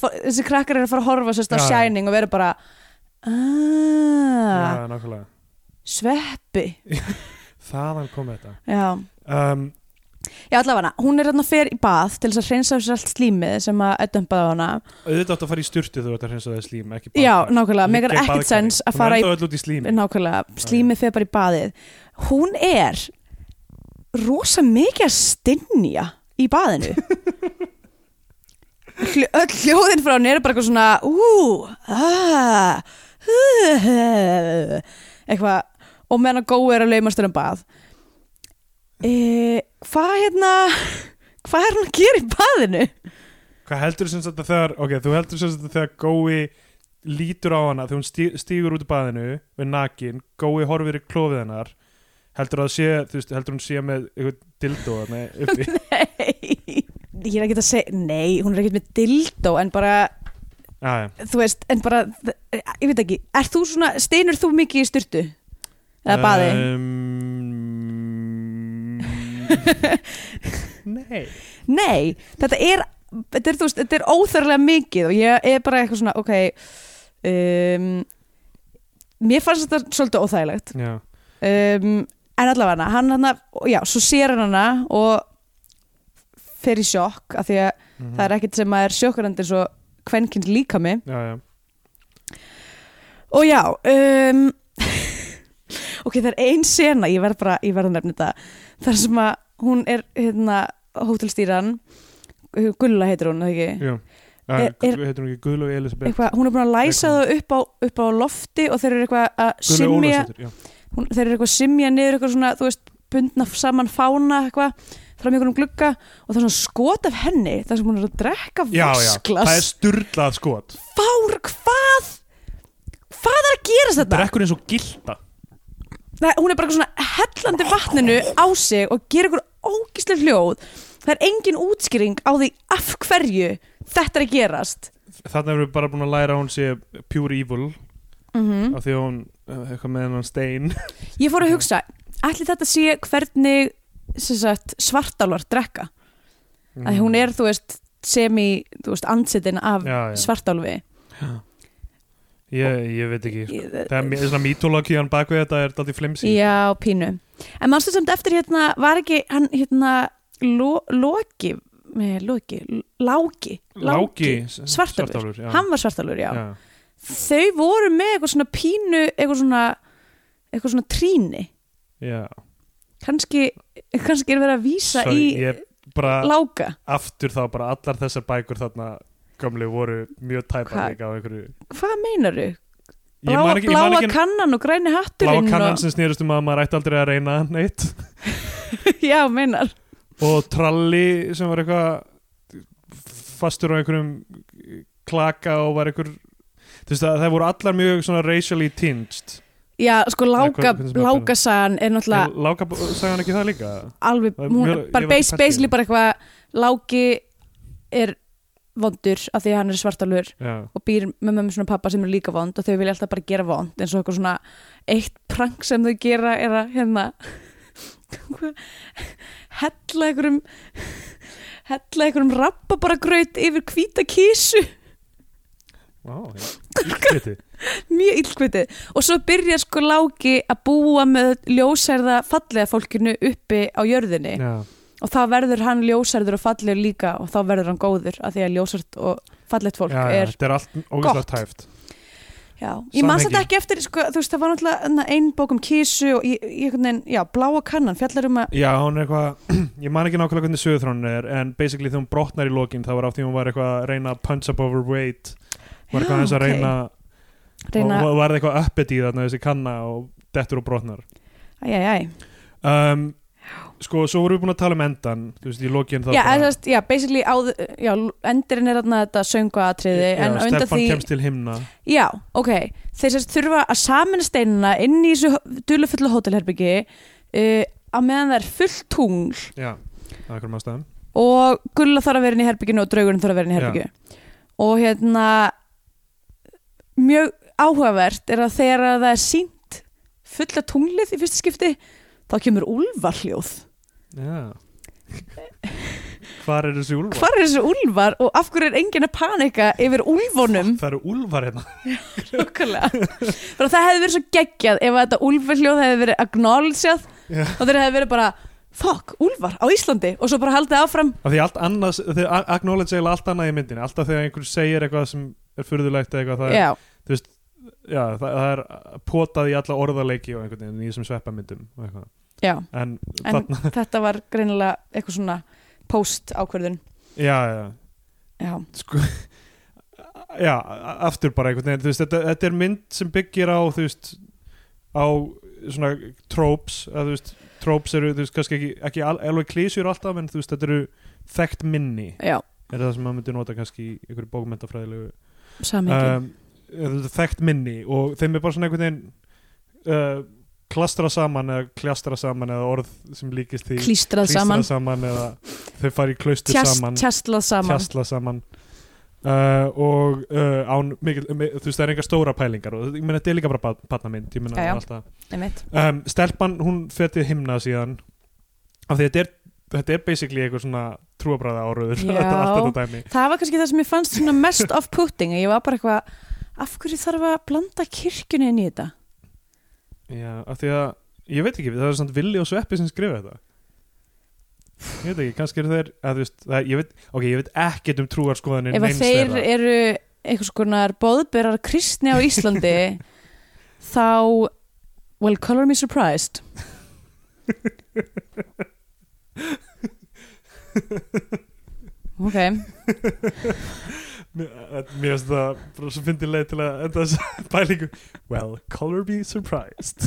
Fá- Þessi krakkar eru að fara að horfa sérst
Mm.
á
Já, já.
Shining og vera bara, "Ah." aaaah,
Já,
Ah.
nákvæmlega
sveppi,
Þaðan kom þetta
já.
um,
Já, allavega, hún er hérna fer í bað til þess að hreinsa af sér allt slímið sem að er dömpaði á hana.
Auðvitað átt að fara í styrtu þú ert að hreinsa það í slím ekki
Já,
baðkar.
nákvæmlega, mér er
Liggja í
ekkert
baðkari.
sens að fara
Hún
í,
er ennþá öll út í slími
nákvæmlega, slímið fer bara í baðið. Hún er rosa mikið að stinja í baðinu. Hljó, öll hljóðin frá henni eru bara eitthvað svona, ú, aaa, eitthvað, og meðan að gói er að laumast um bað. E, hvað hérna, hvað er hún að gera í baðinu?
Hvað heldur sem þetta þegar Ok, þú heldur sem þetta þegar Gói lítur á hana þegar hún stí- stígur út í baðinu við nakin, Gói horfir í klófið hennar heldur að sé, þú veist, heldur hún sé með eitthvað dildó þarna uppi
Nei, ég er ekkert að segja Nei, hún er ekkert með dildó En bara,
Já, já.
þú veist, en bara Ég veit ekki, er þú svona Steinur þú mikið í styrtu? Eða baði?
um, Nei
Nei, þetta er Þetta er, þú veist, þetta er óþörlega mikið Og ég er bara eitthvað svona, ok um, Mér fannst þetta svolítið óþægilegt
Já,
um, En allavega hann hann Já, svo sér hann hana Og fer í sjokk Af því að
mhm.
það er ekkert sem að er sjokkurandi Svo kvenkins líkami
já, já.
Og já, um, ok, það er ein sena, ég verð bara, ég verð að nefna þetta, þar sem að hún er, hérna, hótelstýran, Gulla heitir hún, eða ekki?
Jú.
Er-
Er,
er-
heitir hún ekki Guðlaug Elisabeth
Eitthvað, hún er búin að læsa
Eitthvað.
það upp á, upp á lofti og þeir eru eitthvað að
Guðlaug
simja,
Ólafsdóttir, já.
hún, þeir eru eitthvað að simja niður eitthvað svona, þú veist, bundna saman fána eitthvað, fram í einhvernum glugga og það er svona skot af henni, þar sem hún er að drekka
já, já, það er
vasklas,
styrlað skot
fár, hvað? Hvað er að gerast þetta?
Drekkur eins og gilda
Nei, hún er bara eitthvað svona hellandi vatninu á sig og gerir ykkur ógíslega hljóð það er engin útskýring á því af hverju þetta er að gerast
Þarna erum við bara búin að læra að hún sé pure evil
mm
af því að hún, eh, eitthvað með hennan stein
ég fór að hugsa, ætli þetta sé hvernig sem sagt, svartálvar drekka að hún er, þú veist, semi þú veist, andsetin af
Mhm. Mm. já, já.
svartálfi
Ég, ég veit ekki sko.
Ég-
Það er mjög- svona mitologían bak við þetta er daldið flimsi
já, pínu en mannstu samt eftir hérna, var ekki hann hérna, lo, loki með loki, láki
Láki,
svartálfur,
já.
hann var svartálfur, já
já.
þau voru með eitthvað svona pínu eitthvað svona eitthvað svona tríni
já
kannski, kannski er verið að vísa
Sorry,
í
ég bara
lága
aftur þá bara allar þessar bækur þarna gömlu voru mjög
Hva?
tæpar líka á einhverju
hvað meinaru?
Ég
Bláa,
man ekki- ég man
bláa
ekki-
kannan og græni hatturinn
Bláa kannan
og,
sem snýrist um að maður ætti aldrei að reyna neitt
já, meinar
og tralli sem var eitthvað fastur á einhverjum klaka og var einhver þú veist að það voru allar mjög svona racially tinged
já, sko lága,
hvað finnst mér að
lágasagan er náttúrulega
En Láka sagði hann ekki það líka
alveg,
Það er
hún,
mjög-
bara
ég var
base,
í partíinu.
basically bara eitthvað Láki er vondur af því að hann er svartalur
Já,
og býr með mömmu svona pappa sem er líka vond og þau vilja alltaf bara gera vond eins og eitthvað svona eitt prank sem þau gera er að hérna hvað- hella einhverjum hella einhverjum rappa bara gröyt yfir hvíta kísu
Vá, ég veit
mjög illkvitið og svo byrja sko Láki að búa með ljósærða fallega fólkinu uppi á jörðinni
þið
og þá verður hann ljósærður og fallegur líka og þá verður hann góður af því að ljósært og fallegt fólk er
Þetta er allt ógæslega
gott.
tæft
já. ég man
Samhengi.
þetta ekki eftir sko, þú veist það var náttúrulega einn bók um kísu og ég, ég, neginn, já, bláa kannan fjallar um að
Já, hún er eitthvað, ég man ekki nákvæmlega hvernig sögurþrónin er en basically þegar hún brotnar í lokin þá var á því hún var eitthvað að reyna að punch up over weight var
Já,
eitthvað eins að
ok.
reyna,
reyna
og og var eitthvað uppið í þarna þessi kanna og dettur og brotnar
æj, æj, æj.
um, Sko, svo vorum við búin að tala um endan þú veist, í lokin þá
Já,
bara-
eða, já, basically áð, já, endurinn er þarna þetta
Já,
sönguatriði eh, en á undan
Stefán
því
kemst til himna
já, ok, þeir sérst þurfa að samina steinina inn í þessu dulufullu hótelherbyggi uh, á meðan það er fullt tungl
Já, það er einhverjum ástæðum
og Gulla þarf að vera inn í herbygginu og Draugurinn þarf að vera inn í
Já.
herbygginu og hérna mjög áhugavert er að þegar að það er sínt fulla tunglið í fyrsta skipti þá kemur úlfarhljóð
Já Hvar eru þessi úlfar?
hvar er þessi úlfar og af hverju er enginn að panika yfir úlfunum
Það eru úlfar hérna
Nákvæmlega. Bara það hefði verið svo geggjað ef að þetta úlfarhljóð hefði verið acknowledgeð
Já.
og þeir hefði verið bara fuck, úlfar á Íslandi og svo bara haldið áfram
Af því allt annað, þau acknowledge eiginlega allt annað í myndinni Alltaf þegar einhver segir eitthvað sem er furðulegt eða eitthvað það er
já,
já, það, það er potað í alla orðarleiki og einhvern veginn í þessum sveppamyndum og eitthvað.
já,
en,
en
þarna,
þetta var greinilega eitthvað svona post ákverðun
já, já,
Já,
sko já, a- aftur bara einhvern veginn þú veist, þetta, þetta er mynd sem byggir á þú veist, á svona tropes, að, þú veist, tropes eru þú veist, kannski ekki, ekki al- alveg klísjur alltaf, en þú veist, þetta eru þekkt minni,
já,
er það sem maður myndi nota kannski í einhverju bókmentafræðilegu
samengi
um, þetta er þekkt minni og þeim er bara svona einhvern veginn uh, klastra saman eða kljastra saman eða orð sem líkist því
Klístrað saman,
saman eða þau fara í klaustur
tjast,
saman
tjastlað saman
tjastla saman uh, og uh, án mikil, mi- þú veist það er engar stóra pælingar og ég meina þetta er líka bara patnamynd ég meina
Já, já.
það er alltaf
einmitt.
um, stelpan hún fetið himna síðan af því þetta er, þetta er basically einhver svona trúabræða áruður
Já.
þetta er allt þetta dæmi
Það var kannski það sem ég fannst svona mest off-putting ég var bara eitthvað, af hverju þarf að blanda kirkjunni inn í þetta?
Já, af því að ég veit ekki, það er svona villi og sveppi sem skrifa þetta Ég veit ekki, kannski eru þeir að, þú veist, það, ég veit, ok, ég veit ekkert um trúarskoðanir
Ef að
neins
þeir
þeirra.
eru einhvers konar bóðberar kristni á Íslandi þá well, color me surprised Ok,
Mér eh, mér finnst það bara svo fyndi leið til að enda þess pælingu Well, color be surprised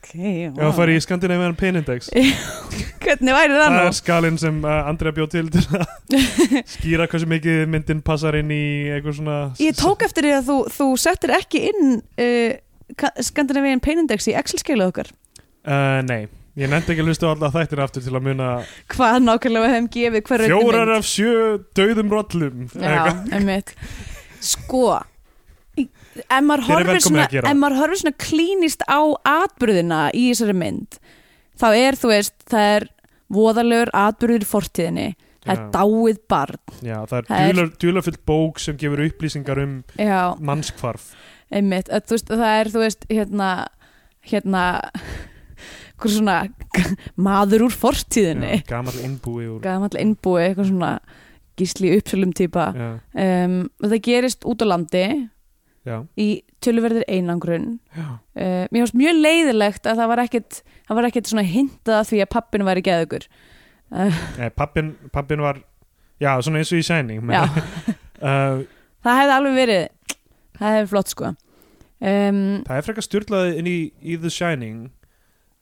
okay
Ef það fari í Scandinavian Pain Index
Hvernig væri það
Það
nú?
er skalinn sem uh, Andrea bjóð til til að skýra hversu mikið myndin passar inn í eitthvað svona
Ég tók eftir því að þú, þú settir ekki inn uh, Ka- Scandinavian Pain Index í Excel-skeilu okkar
uh, Nei, ég nefndi ekki að hlusta á alla þættir aftur til að muna
hvað nákvæmlega við hefum gefið hverju
Fjórar af sjö döðum rollum
Já, einmitt Sko í- ef
Þér er
maður horfir
velkomin
svona,
að gera.
ef maður horfir svona klínist á atbyrðina í þessari mynd þá er, þú veist, það er voðalegur atbyrður í fortíðinni það er
Já.
dáið barn
Já, það er,
Það er-
dular, dularfullt bók sem gefur upplýsingar um
Já,
mannskvarf
einmitt, að, þú veist, það er, þú veist, hérna hérna hver svona maður úr fortíðinni
Gamal innbúi úr
gamal innbúi, eitthvað svona gísli uppsölum típa
Já,
um, og það gerist út á landi
já,
í töluverðir einangrun
Já.
uh, mér fannst mjög leiðilegt að það var ekkit það var ekkit svona hintað að því að pappin væri geðugur uh,
Nei, pappin, pappin var já, svona eins og í sæning
já,
uh,
það hefði alveg verið það hefði flott sko um,
Það er frekar styrlaði inn í, í The Shining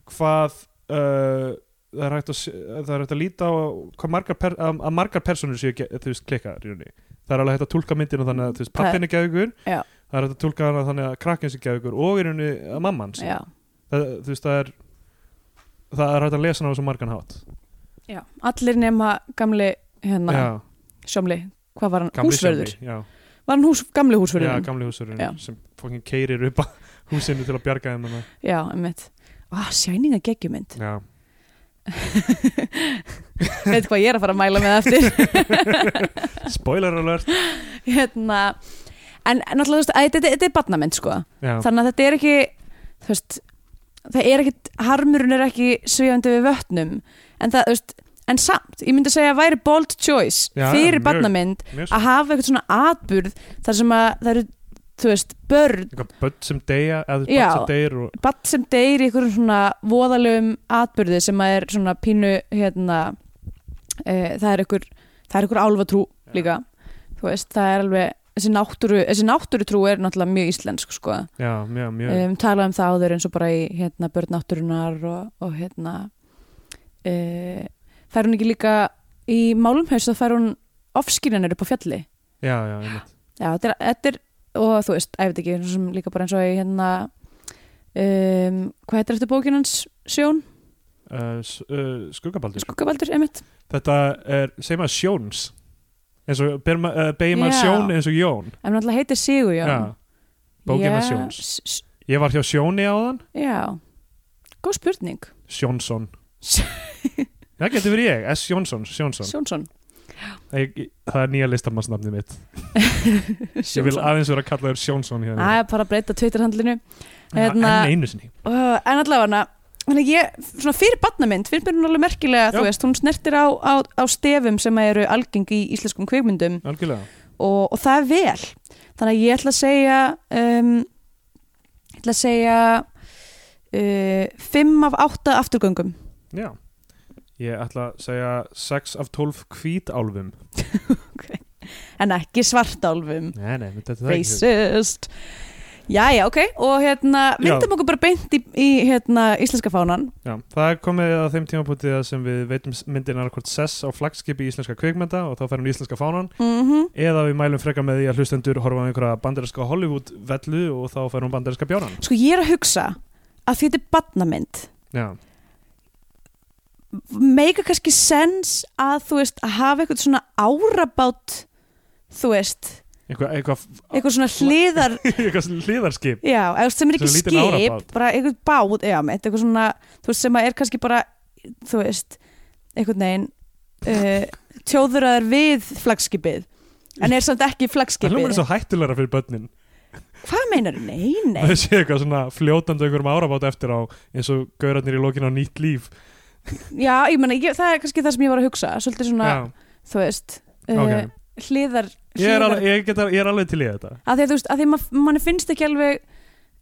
hvað uh, það, er hægt að, s- það er hægt að líta á hvað margar per, að, að margar personur séu ge- þú veist, klikkaðar í rauninni. Það er alveg hægt að tólka myndina þannig að þú veist,
Það-
pappin er geðugur
Já.
það er hægt að tólka hana þannig að krakkin sé geðugur og í rauninni að mamman sé.
já,
það, þú veist, það er það er hægt að lesa hana á svo margan hátt
já, allir nema gamli hérna,
Já,
sjómli hvað var hann,
gamli
húsverður
Sjómi, Já,
var hann hús, gamli
já,
húsverður,
gamli
Já.
húsverðurinn sem fókin keirir upp að húsinu til að bjarga þeim hana.
já, einmitt ah, sæninga geggjumynd
Já,
veit hvað ég er að fara að mæla með eftir
spoiler alert
hérna en en náttúrulega þú veist, æ, þetta, þetta er barnamynd sko
Já,
þannig að þetta er ekki þú veist, það er ekki harmurinn er ekki svífandi við vötnum en það, þú veist, en samt ég myndi segja að væri bold choice
Já,
fyrir
mjög.
barnamynd
mjög svo
að hafa eitthvað svona atburð þar sem að það eru, þú veist, börn
eitthvað börn sem deyja eða
Já.
börn sem deyr og
barn sem deyr í einhverjum svona voðalegum atbyrði sem að er svona pínu hérna e, það er einhver, það er einhver álfatrú líka, þú veist, það er alveg þessi náttúru, þessi náttúru trú er náttúrulega mjög íslensk sko,
já, mjög, mjög
um, talað um það áður eins og bara í hérna börn náttúrunar og, og hérna e, fær hún ekki líka í málumhaus þá fær hún ofskýrjanir upp á fjalli
já, já, einmitt
Já, þetta er, þetta er og þú veist, æfði ekki, svo sem líka bara eins og í hérna um, hvað heitir eftir bókin hans Sjón,
uh, s- uh, skuggabaldur
skuggabaldur, einmitt
þetta er, segjum að sjóns eins og ber ma- uh, beigir maður
Já.
sjón eins og jón
en hann alltaf heitir Sigur
Já. bókin hans Jóns. ég var hjá sjóni á þann
Já, góð spurning
Sjónsson
Sj-
það getur verið ég, S. Jónsson, Sjónsson
Sjónsson
ég, ég- það er nýja listamannsnafnið mitt ég vil
Sjónsson.
aðeins vera að kalla þér Sjónsson hérna.
Það er bara að breyta Twitterhandlinu
Já,
hérna-
enn einu sinni
uh, en allavega hana Þannig ég, svona fyrir barnamynd, finnst mér hún alveg merkilega, þú
Já.
veist, hún snertir á, á, á stefum sem eru algeng í íslenskum kveikmyndum
algjörlega,
og, og það er vel þannig að ég ætla að segja um, ég ætla að segja uh, 5 af 8 afturgöngum
já ég ætla að segja 6 af 12 hvítálfum
en ekki svartálfum
nei, nei, þetta er það ekki
racist Jæja, ok, og hérna
Já.
vindum okkur bara beint í, í hérna, íslenska fánan
Já, það er komið að þeim tímapunktið þar sem við veitum myndin annarkvort sess á flagskipi íslenska kveikmynda og þá færum við íslenska fánan
mm
eða við mælum freka með því að hlustendur horfa á einhverja bandarinska Hollywood-vellu og þá færum við bandarinska bjánan.
Sko, ég er að hugsa að því þetta er badnamynd
Já,
meika kannski sens að þú veist, að hafa eitthvað svona árabát þú veist,
eitthvað eitthva,
eitthvað svona hliðar
eitthva hliðarskip.
Já, eða þú veist, sem er ekki
Svona lítinn
skip,
árabát.
bara eitthvað bát, já, með eitthvað svona, þú veist, sem að er kannski bara, þú veist, eitthvað neginn, uh, tjóðuraður við flagskipið, en er samt ekki
Það hljómar
flagskipið.
eins og hættulegra fyrir börnin.
Hvað meinar þú? Nei, nei.
Það sé eitthvað svona fljótandi á einhverjum árabát eftir á eins og gaurarnir í lokin á nýtt líf.
Já, ég meina, ég, það er kannski það sem ég var að hugsa, svolítið svona,
Já,
þú veist, uh,
ok.
hliðar,
Ég er,
hliðar,
alveg, ég, geta, ég er alveg til í þetta.
að því að þú veist, að því að ma- manni finnst ekki alveg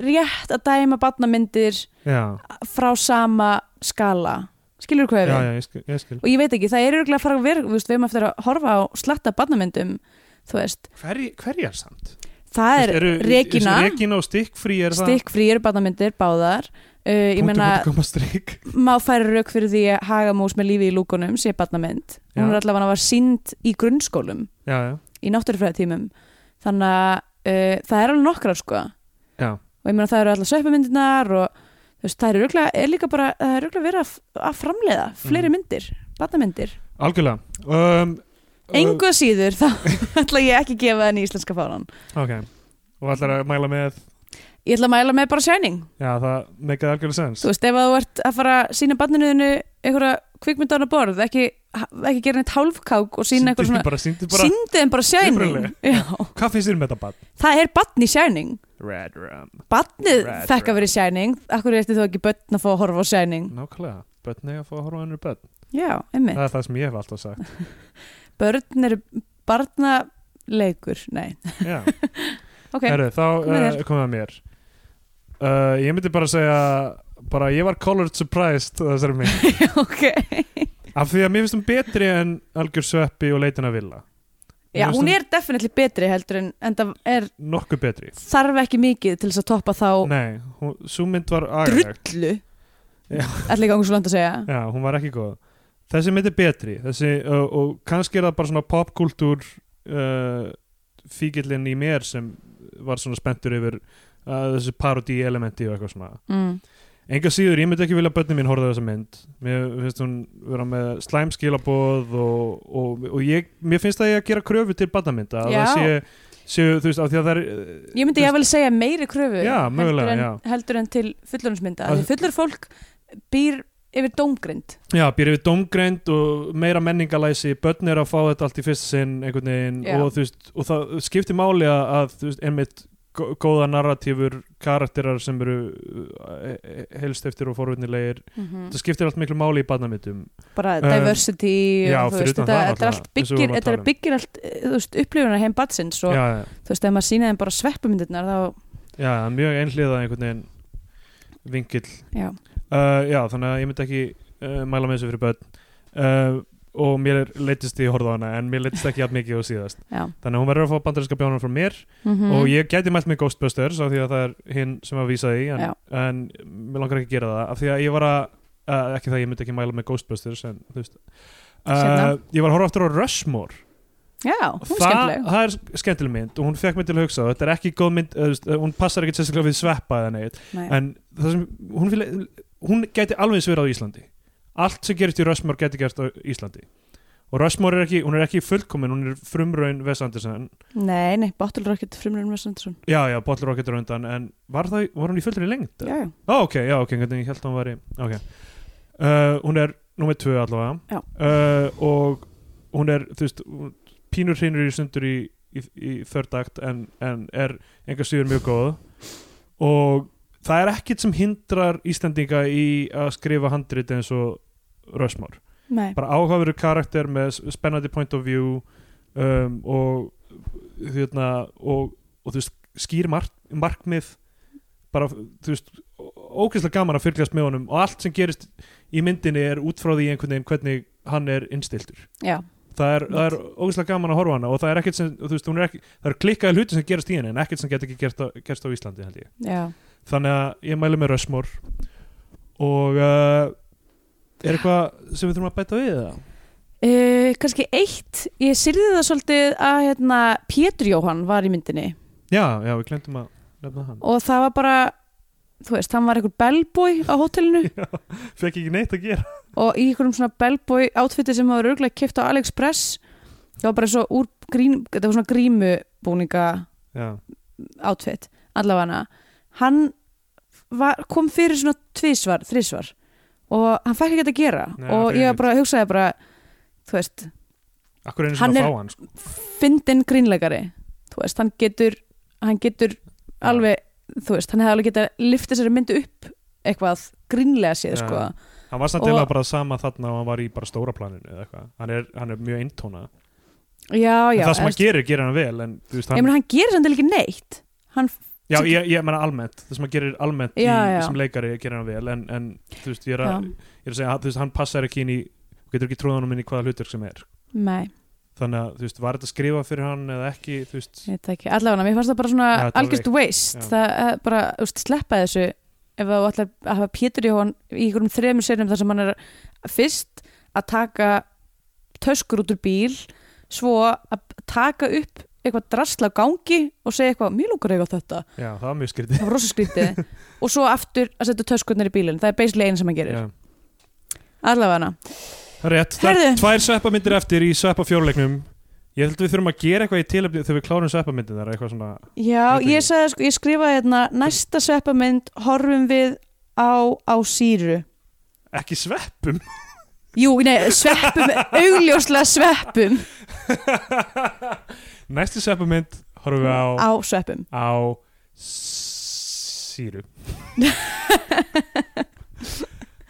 rétt að dæma batnamyndir
Já,
frá sama skala. Skilur
já,
hvað ég við?
já, ég skil. Ég skil.
og ég veit ekki, það er örgulega að fara að vera þú veist, við erum eftir að horfa á slatta barnamyndum þú veist,
Hverj, hverjar samt?
það er
Eru-
Regína,
Regína og Stikkfrí er það?
stikkfrí eru barnamyndir báðar uh, ég
Punktur,
meina,
punktur, komma, strik.
má færa rauk fyrir því að hagamús með lífi í lúkunum sé barnamynd
Já.
hún er allavega að var sínd í grunnskólum
já, já,
í náttúrufræðatímum þannig að uh, það er alveg nokkrar sko
já,
og ég meina það eru allar sveppamyndirnar og þú veist, það er örgulega, er líka bara það er örgulega verið að, að framleiða fleiri
Mhm.
myndir, barnamyndir
algjörlega um,
engu að síður, þá ætla ég ekki að gefa henni íslenska fánan
uh, ok, og ætlar að mæla með
ég ætla að mæla með bara Shining
já, það meikaði algjörlega sens
þú veist, ef að þú ert að fara að sína barninuðinu einhverja kvikmyndan á borð ekki, ekki gera neitt hálfkák og
Sýndu
sína eitthvað svona,
bara, sýndu bara,
síndi þeim bara Shining
Upprunalega.
Já,
hvað finnst þér með þetta bann?
það er barn í Shining
Red Rum,
barnið
Right,
fekk
right.
að vera í Shining akkur ertu þú ekki börn að fá að horfa á Shining
nákvæmlega börn eiga að fá að horfa á önnur börn
já, einmitt,
Mm. það er það sem ég hef alltaf sagt
börn eru barnaleikur nei,
já
ok,
Herru, þá
með
uh,
þér.
komið að mér uh, Ég myndi bara segja bara ég var colored surprised þessari mynd
ok
af því að mér finnst hún betri en Algjör Sveppi og Leitin að Villa
Já,
Mér finnst
hún er definitely betri heldur en, en það er,
nokkuð betri
þarf ekki mikið til þess að toppa þá
Nei, hún, sú mynd var agaleg
drullu
Já.
ætla ekki að hún svo langt að segja
Já, hún var ekki góð Þessi mynd er betri þessi, uh, og kannski er það bara svona popkultúr uh, fíkillin í mér sem var svona spenntur yfir uh, þessu parodí elementi og eitthvað svona
mm.
Enga síður, ég myndi ekki vilja að bönni mín horfa á þessa mynd Mér finnst hún vera með slæm skilaboð og, og, og ég, mér finnst það ég að gera kröfu til bannamynda að
Já.
það sé, séu, þú veist, af því að það er eh,
Ég myndi
þú
ég vel segja meiri kröfu
Já, mögulega,
heldur, en,
já.
heldur en til fullorðinsmynda
Að-
Því fullur fólk býr yfir dómgrind
Já, býr yfir domgreind og meira menningalæsi börn er að fá þetta allt í fyrsta sinn einhvern veginn
Já.
og þú veist og það skiptir máli að, að þú veist, einmitt gó- góða narratífur karakterar sem eru eh, helst eftir og forvitnilegir
Mm.
það skiptir allt miklu máli í barnamyndum
Bara
Um,
diversity
já,
og þú
fyrir
veist,
utan
þetta,
það
þetta
náttúrulega,
er allt
eins og við
byggir,
vorum að
þetta
tala um.
byggir allt, eh, þú veist, upplifunar heim batsins og
Já, já.
þú veist, ef maður sýna þeim bara sveppumyndirnar þá,
Já, það er mjög einhliða einhvern veginn vingill
já,
uh, Já, þannig að ég myndi ekki uh, mæla með þessu fyrir börn uh, og mér leittist því að horfa á hana en mér leittist ekki jafn mikið og síðast
já
þannig að hún verður að fá bandarinska bjánum frá mér
mm
og ég gæti mælt með Ghostbusters af því að það er hinn sem að vísa í en,
Já.
en mér langar ekki að gera það af því að ég var að, uh, ekki það ég myndi ekki mæla með Ghostbusters en þú veist uh,
Seinna.
ég var að horfa aftur á Rushmore
Já, hún
það,
er skemmtileg
það er skemmtileg mynd og hún fekk mig til að hugsa þetta er ekki góð mynd, uh, veist, hún passar ekki sérstaklega við sveppa eða neitt
Nei.
en það sem hún, vil, hún gæti alveg eins verið á Íslandi allt sem gerist í Rushmore gæti gerst á Íslandi og Rushmore er ekki, hún er ekki fullkomin hún er frumraun Wes Anderson
Nei, nei, Bottle Rocket frumrun Wes Anderson
já, já, Bottle Rocket er á undan en var, það, var hún í fullri lengd?
Já, já,
Ó, ok, já, ok, hvernig ég held að hún var í ok uh, hún er nummer tvö allavega
Já.
uh, og hún er, þú veist hún- pínur hreinur í sundur í, í, í þördakt en, en er enga síður mjög góð og það er ekkit sem hindrar Íslendinga í að skrifa handrit eins og Rushmore
nei,
bara áhugaveru karakter með s- spennandi point of view um, og hérna og, og þú veist skýr mark, markmið bara þú veist ógeðslega gaman að fylgjast með honum og allt sem gerist í myndinni er út frá því einhvern veginn hvernig hann er innstiltur
já,
það er, það er ógeðslega gaman að horfa á hana og það er ekkert sem, þú veist, hún er ekki það er klikkaði hluti sem gerast í henni en ekkert sem get ekki gerst á, gerst á Íslandi held ég
já
þannig að ég mælu með Rushmore og uh, er eitthvað sem við þurfum að bæta við það?
Uh, kannski eitt, ég syrði það svolítið að hérna, Pétur Jóhann var í myndinni
Já, já, við glemtum að nefna hann
og það var bara þú veist, hann var einhver bellboy á hótelinu
Fekk ekki neitt að gera
og í einhverjum svona bellboy átfitti sem var örgulega kipt á AliExpress það var bara svo úr grín, þetta var svona grímubúninga
Já,
átfitt allavega hann var, kom fyrir svona tvísvar, þrísvar og hann fæk ekki þetta að gera
Nei,
og
hann fékk
ég
ekkert.
bara hugsaði bara þú veist,
akkur einu
Hann
sinni
er-
að fá hann sko.
fyndin grínleikari þú veist, hann getur hann getur alveg þú veist, hann hefði alveg getað lift þessari myndu upp eitthvað grínlega séð
Já.
sko.
Hann var samt
Og-
eða bara sama þarna og hann var í bara stóra planinu eða eitthvað Hann er, hann er mjög eintóna
já, já
En það sem hann
veist,
gerir, gerir hann vel en, þú veist,
ég
hann,
meina hann gerir samt ekki neitt hann,
Já, ég, ég meina almennt Það sem hann gerir almennt
Já,
í,
já.
sem leikari gerir hann vel en, en þú veist, ég er,
Já.
að, ég er að segja að, þú veist, hann passar ekki inn í þú getur ekki tróðanum inn í hvaða hlutverk sem er
nei,
Þannig að, þú veist, var þetta skrifa fyrir hann eða ekki, þú veist
ég veit ekki, allavega mér fannst það bara svona
Já, þetta var
algjörst waste
Já.
það eh, bara, þú veist, sleppa þessu ef þú ætlar að hafa Pétur Jóhann í einhverjum þremur seriðum þar sem hann er fyrst að taka töskur út úr bíl svo að taka upp eitthvað drasla á gangi og segja eitthvað, mjög lókar eiga þetta
Já, það var mjög skrítið
það var rosa skrítið og svo aftur að setja töskurnar í bílinn það er basically einu sem hann gerir,
Já.
allavega hana
Rétt, það
Heyrðu.
er tvær sveppamyndir eftir í sveppafjórleiknum Ég held að við þurfum að gera eitthvað í tilöfni þegar við klárum sveppamyndir þar eitthvað svona
já,
Þetta
ég,
ekki.
sagði, sko- ég skrifaði hérna næsta sveppamynd horfum við á, á síru
ekki sveppum
jú, nei, sveppum, augljóslega sveppum
Næsti sveppamynd horfum við á
Mm, á sveppum
á s- síru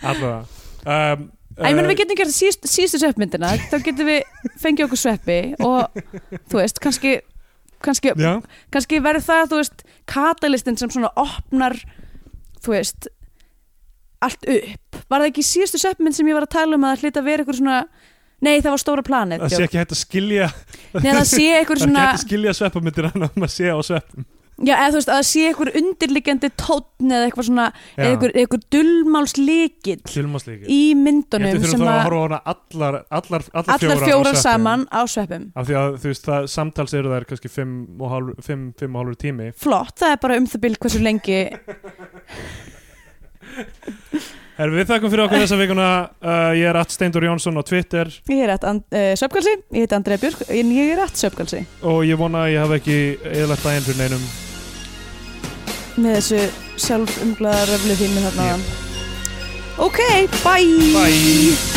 Allavega um,
Æ, ég menn við getum gert síst, sístu sveppmyndina þá getum við fengið okkur sveppi og þú veist, kannski kannski,
Já,
kannski verður það, þú veist, katalistin sem svona opnar, þú veist, allt upp. Var það ekki í síðustu söpmynd sem ég var að tala um að það hlita að vera ykkur svona, nei það var stóra planet.
það sé ekki hægt að skilja
Nei það sé ykkur
það er ekki
Eh, svona,
hægt að skilja sveppamyndir hann að maður sé á svepp
já eða þú veist, að það sé ykkur undirliggjandi tónn eða eitthvað svona,
Já.
eða ykkur, ykkur dullmálslikill
Silmaslíki
í
Ég
myndunum
held við þurfum
sem
þá að
að
horfa á hana allar, allar, allar,
allar
á
fjórar
sveppum.
saman á sveppum.
Af því að þú veist það samtals eru þær kannski 5 og hálfur fimm- fimm og hálfur tími
Flott, það er bara um það byrj hversu lengi
Herru, við þakkum fyrir okkur þessa vikuna uh, Ég er Att Steindur Jónsson á Twitter
Ég er rétt and, uh, söpgalsi, ég heiti Andrea Björk en ég er rétt söpgalsi
og ég vona að ég hafa ekki eðlægt daginn fyrir neinum
með þessu sjálfumglaða röflu þínu þarna yep. Ok, bye
Bye